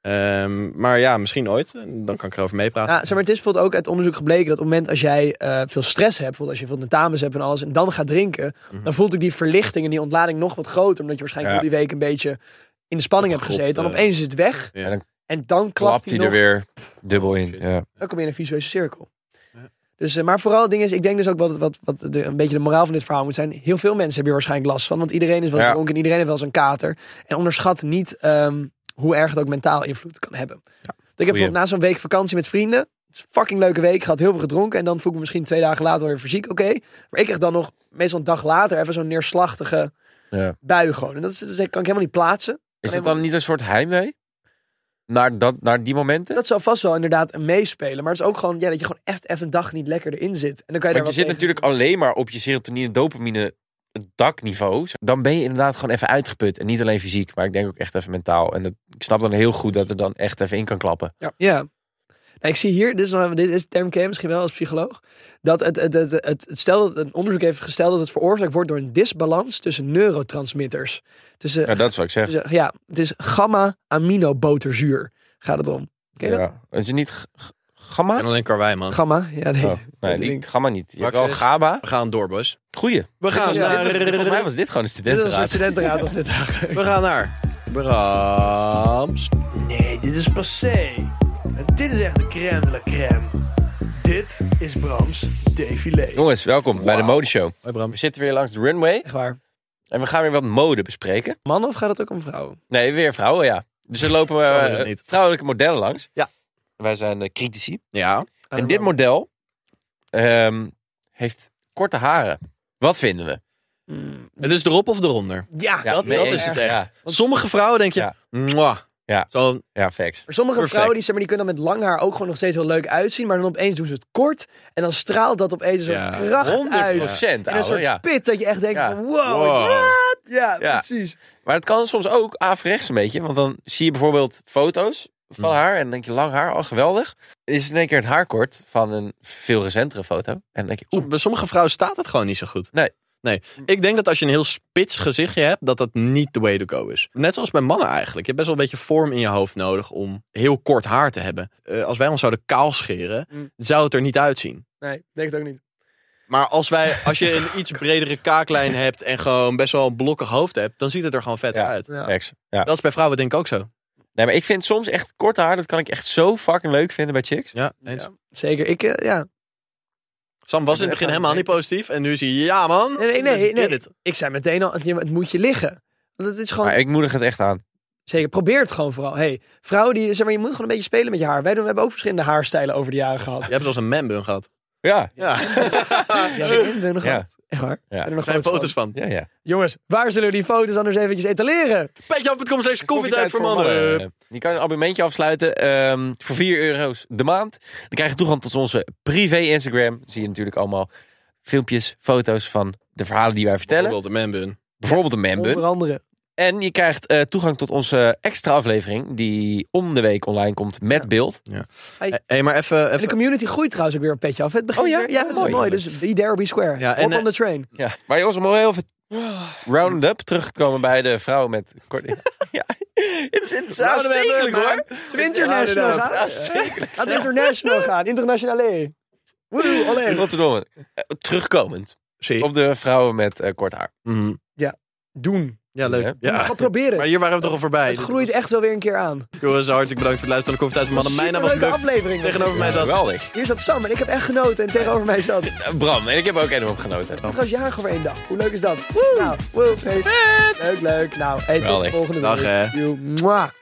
[SPEAKER 3] Ehm, maar ja, misschien ooit. Dan kan ik erover meepraten.
[SPEAKER 2] Ja, zeg maar, het is bijvoorbeeld ook uit onderzoek gebleken dat op het moment als jij eh, veel stress hebt, bijvoorbeeld als je bijvoorbeeld tentamens hebt en alles, en dan gaat drinken, dan voelt ook die verlichting en die ontlading nog wat groter, omdat je waarschijnlijk
[SPEAKER 1] Ja.
[SPEAKER 2] heel die week een beetje in de spanning hebt
[SPEAKER 3] Opgeropt,
[SPEAKER 2] gezeten. Dan
[SPEAKER 3] eh.
[SPEAKER 2] opeens is het weg
[SPEAKER 3] Ja.
[SPEAKER 1] En dan
[SPEAKER 2] en dan klapt
[SPEAKER 1] klapt
[SPEAKER 2] hij
[SPEAKER 1] hij
[SPEAKER 2] nog. Oh,
[SPEAKER 1] er weer dubbel in.
[SPEAKER 3] Shit.
[SPEAKER 1] Ja.
[SPEAKER 2] Dan kom je in een visuele cirkel. Dus, eh, maar vooral het ding is, ik denk dus ook wat, wat, wat de, een beetje de moraal van dit verhaal moet zijn. Heel veel mensen hebben hier waarschijnlijk last van. Want iedereen is wel eens
[SPEAKER 1] Ja.
[SPEAKER 2] dronken en iedereen heeft wel eens een kater. En onderschat niet ehm, hoe erg het ook mentaal invloed kan hebben. Ik heb bijvoorbeeld na zo'n week vakantie met vrienden. het is een fucking leuke week. Gehad heel veel gedronken. En dan voel ik me misschien twee dagen later weer fysiek oké. Maar ik krijg dan nog meestal een dag later even zo'n neerslachtige
[SPEAKER 1] Ja.
[SPEAKER 2] bui gewoon. En dat, is, dat kan ik helemaal niet plaatsen.
[SPEAKER 1] Is het dan niet een soort heimwee? Naar, dat, naar die momenten?
[SPEAKER 2] Dat zal vast wel inderdaad een meespelen. Maar het is ook gewoon ja, dat je gewoon echt even een dag niet lekker erin zit. En dan kan je daar
[SPEAKER 1] Want je
[SPEAKER 2] wat
[SPEAKER 1] zit
[SPEAKER 2] tegen-
[SPEAKER 1] natuurlijk alleen maar op je serotonine en dopamine dakniveau. Dan ben je inderdaad gewoon even uitgeput. En niet alleen fysiek, maar ik denk ook echt even mentaal. En dat, ik snap dan heel goed dat er dan echt even in kan klappen.
[SPEAKER 2] Ja. Nou, ik zie hier, dit is, nog- dit is term ken je misschien wel als psycholoog, dat het, het, het, het, het- stel dat een onderzoek heeft gesteld dat het veroorzaakt wordt door een disbalans tussen neurotransmitters. Tussen,
[SPEAKER 1] Ja, dat is wat ik zeg.
[SPEAKER 2] tussen- ja, het is gamma-aminoboterzuur, gaat het om. Ken je dat?
[SPEAKER 1] Ja. Is het niet g- g-
[SPEAKER 3] En
[SPEAKER 1] gamma?
[SPEAKER 3] alleen karwei, man.
[SPEAKER 2] Gamma? Ja, nee.
[SPEAKER 1] Oh, nee,
[SPEAKER 2] [LAUGHS] dat
[SPEAKER 1] die
[SPEAKER 2] ding.
[SPEAKER 1] gamma niet. Je hebt wel
[SPEAKER 3] Maxis.
[SPEAKER 1] GABA.
[SPEAKER 3] We gaan door, boys.
[SPEAKER 1] Goeie.
[SPEAKER 3] We
[SPEAKER 1] Dit
[SPEAKER 3] gaan
[SPEAKER 1] was-
[SPEAKER 3] naar...
[SPEAKER 1] dit was- volgens mij was dit gewoon een
[SPEAKER 2] Dit is een soort
[SPEAKER 1] studentenraad. [LAUGHS]
[SPEAKER 2] studentenraad als dit eigenlijk.
[SPEAKER 3] We gaan naar... Brams.
[SPEAKER 2] Nee, dit is passé. En dit is echt de crème de la crème. Dit is Brams défilé.
[SPEAKER 1] Jongens, welkom bij de Modeshow.
[SPEAKER 3] Hoi, Bram.
[SPEAKER 1] We zitten weer langs de runway.
[SPEAKER 2] Echt waar?
[SPEAKER 1] En we gaan weer wat mode bespreken.
[SPEAKER 2] Mannen of gaat het ook om vrouwen?
[SPEAKER 1] Nee, weer vrouwen, ja. Dus er lopen we
[SPEAKER 3] Zo is het
[SPEAKER 1] eh,
[SPEAKER 3] niet.
[SPEAKER 1] vrouwelijke modellen langs.
[SPEAKER 3] Ja.
[SPEAKER 1] Wij zijn eh, critici.
[SPEAKER 3] Ja.
[SPEAKER 1] En dit model ehm, heeft korte haren. Wat vinden we?
[SPEAKER 3] Het is erop of eronder.
[SPEAKER 2] Ja,
[SPEAKER 1] Ja,
[SPEAKER 3] dat
[SPEAKER 1] mee
[SPEAKER 3] dat
[SPEAKER 1] eens.
[SPEAKER 3] is het
[SPEAKER 1] Ja.
[SPEAKER 3] echt.
[SPEAKER 2] Want-
[SPEAKER 3] Sommige vrouwen denk je...
[SPEAKER 1] Ja.
[SPEAKER 3] mwah,
[SPEAKER 1] Ja.
[SPEAKER 3] Zo'n
[SPEAKER 1] Ja, facts.
[SPEAKER 2] Maar sommige
[SPEAKER 3] Perfect.
[SPEAKER 2] vrouwen die, zeg maar, die kunnen dan met lang haar ook gewoon nog steeds heel leuk uitzien. Maar dan opeens doen ze het kort. En dan straalt dat opeens een soort
[SPEAKER 3] Ja,
[SPEAKER 2] kracht
[SPEAKER 1] 100%
[SPEAKER 2] uit. En een
[SPEAKER 1] ouwe,
[SPEAKER 2] soort
[SPEAKER 1] ja.
[SPEAKER 2] pit dat je echt denkt
[SPEAKER 1] Ja.
[SPEAKER 2] van wow.
[SPEAKER 1] Wow.
[SPEAKER 2] what? Ja,
[SPEAKER 1] Ja.
[SPEAKER 2] precies.
[SPEAKER 1] Maar het kan soms ook averechts een beetje. Want dan zie je bijvoorbeeld foto's van haar. En dan denk je, lang haar, oh geweldig. Is in één keer het haar kort van een veel recentere foto. En dan denk je, oeh.
[SPEAKER 3] Som- Bij sommige vrouwen staat het gewoon niet zo goed.
[SPEAKER 1] Nee.
[SPEAKER 3] Nee. Ik denk dat als je een heel spits gezichtje hebt, dat dat niet the way to go is. Net zoals bij mannen eigenlijk. Je hebt best wel een beetje vorm in je hoofd nodig om heel kort haar te hebben. Eh, als wij ons zouden kaal scheren,
[SPEAKER 2] Mm.
[SPEAKER 3] zou het er niet uitzien.
[SPEAKER 2] Nee, denk het ook niet.
[SPEAKER 3] Maar als, wij, als je een iets bredere kaaklijn hebt en gewoon best wel een blokkig hoofd hebt, dan ziet het er gewoon vet
[SPEAKER 1] Ja.
[SPEAKER 3] uit.
[SPEAKER 2] Ja.
[SPEAKER 1] Ex. Ja.
[SPEAKER 3] Dat is bij vrouwen denk ik ook zo.
[SPEAKER 1] Nee, maar ik vind soms echt korte haar, dat kan ik echt zo fucking leuk vinden bij chicks.
[SPEAKER 3] Ja, eens.
[SPEAKER 2] Zeker. Ik, eh, ja.
[SPEAKER 3] Sam was in het begin helemaal niet positief en nu zie je, ja man.
[SPEAKER 2] Nee, nee, nee.
[SPEAKER 3] let's
[SPEAKER 2] nee.
[SPEAKER 3] get it.
[SPEAKER 2] Ik zei meteen al, het- het moet je liggen. Want het is gewoon,
[SPEAKER 1] Maar ik moedig het echt aan.
[SPEAKER 2] zeker, probeer het gewoon vooral. Hey, vrouwen die, zeg maar, je moet gewoon een beetje spelen met je haar. Wij doen, we hebben ook verschillende haarstijlen over de jaren
[SPEAKER 1] [LAUGHS]
[SPEAKER 2] gehad.
[SPEAKER 3] Je hebt zoals een manbun gehad.
[SPEAKER 1] Ja.
[SPEAKER 3] Ja,
[SPEAKER 2] Ja, we hebben er nog
[SPEAKER 1] Ja.
[SPEAKER 2] wat. Echt waar? We hebben er nog
[SPEAKER 3] er zijn
[SPEAKER 2] foto's
[SPEAKER 3] foto's van.
[SPEAKER 1] Ja, ja.
[SPEAKER 2] van. Jongens, waar zullen we die foto's anders eventjes etaleren?
[SPEAKER 3] Petjeaf.com slash koffietijd voor mannen. eh,
[SPEAKER 1] Je kan een abonnementje afsluiten ehm, voor 4 euro's de maand. Dan krijg je toegang tot onze privé Instagram. Dan Zie je natuurlijk allemaal filmpjes, foto's van de verhalen die wij vertellen.
[SPEAKER 3] Bijvoorbeeld een manbun.
[SPEAKER 1] Bijvoorbeeld een
[SPEAKER 2] Onder
[SPEAKER 1] manbun.
[SPEAKER 2] andere.
[SPEAKER 1] En je krijgt eh, toegang tot onze extra aflevering die om de week online komt met beeld.
[SPEAKER 3] Hé, hey, maar even...
[SPEAKER 2] En de
[SPEAKER 3] even
[SPEAKER 2] community groeit trouwens ook weer een petje af. Het begint
[SPEAKER 1] Oh ja?
[SPEAKER 2] weer- Ja, dat is
[SPEAKER 1] Mooi.
[SPEAKER 2] mooi. Dus be there, be square.
[SPEAKER 3] Ja,
[SPEAKER 2] Ja,
[SPEAKER 3] en,
[SPEAKER 2] Op on
[SPEAKER 3] eh,
[SPEAKER 2] the
[SPEAKER 3] [LAUGHS]
[SPEAKER 2] train.
[SPEAKER 1] Ja. Maar jongens, om heel even
[SPEAKER 3] Ah.
[SPEAKER 1] round-up teruggekomen bij de vrouw met
[SPEAKER 3] [LAUGHS]
[SPEAKER 1] kort... ja, het is- het is
[SPEAKER 3] Round up,
[SPEAKER 1] aanstekelijk
[SPEAKER 3] man.
[SPEAKER 1] hoor.
[SPEAKER 2] Laten we international
[SPEAKER 3] inderdaad.
[SPEAKER 2] gaan. Laten we international gaan. Internationale. Woehoe,
[SPEAKER 3] [LAUGHS]
[SPEAKER 1] In
[SPEAKER 2] alleen.
[SPEAKER 1] Rotterdam. Eh, Terugkomend
[SPEAKER 3] Zie.
[SPEAKER 1] op de vrouwen met eh, kort haar.
[SPEAKER 3] Mhm.
[SPEAKER 2] Doen.
[SPEAKER 3] Ja, leuk.
[SPEAKER 2] Ja.
[SPEAKER 3] Ja.
[SPEAKER 2] Gewoon proberen.
[SPEAKER 3] Maar hier waren we toch al voorbij.
[SPEAKER 2] het
[SPEAKER 3] Dit
[SPEAKER 2] groeit
[SPEAKER 3] was-
[SPEAKER 2] echt wel weer een keer aan.
[SPEAKER 3] Jongens, hartstikke bedankt voor het luisteren naar de Koffietijd voor mannen. Mijn naam was
[SPEAKER 2] leuke
[SPEAKER 3] Buk.
[SPEAKER 2] aflevering.
[SPEAKER 3] Tegenover mij zat...
[SPEAKER 1] Geweldig.
[SPEAKER 2] Hier zat Sam en ik heb echt genoten. En tegenover mij zat
[SPEAKER 1] Eh, Bram, en ik heb er ook enorm genoten.
[SPEAKER 2] trouwens jarig over één dag. Hoe leuk is dat? Nou, wow, feest. Leuk, leuk. Nou, hey, tot
[SPEAKER 1] Geweldig.
[SPEAKER 2] volgende
[SPEAKER 3] Dag,
[SPEAKER 2] week.
[SPEAKER 3] hè.
[SPEAKER 2] You. Mwah.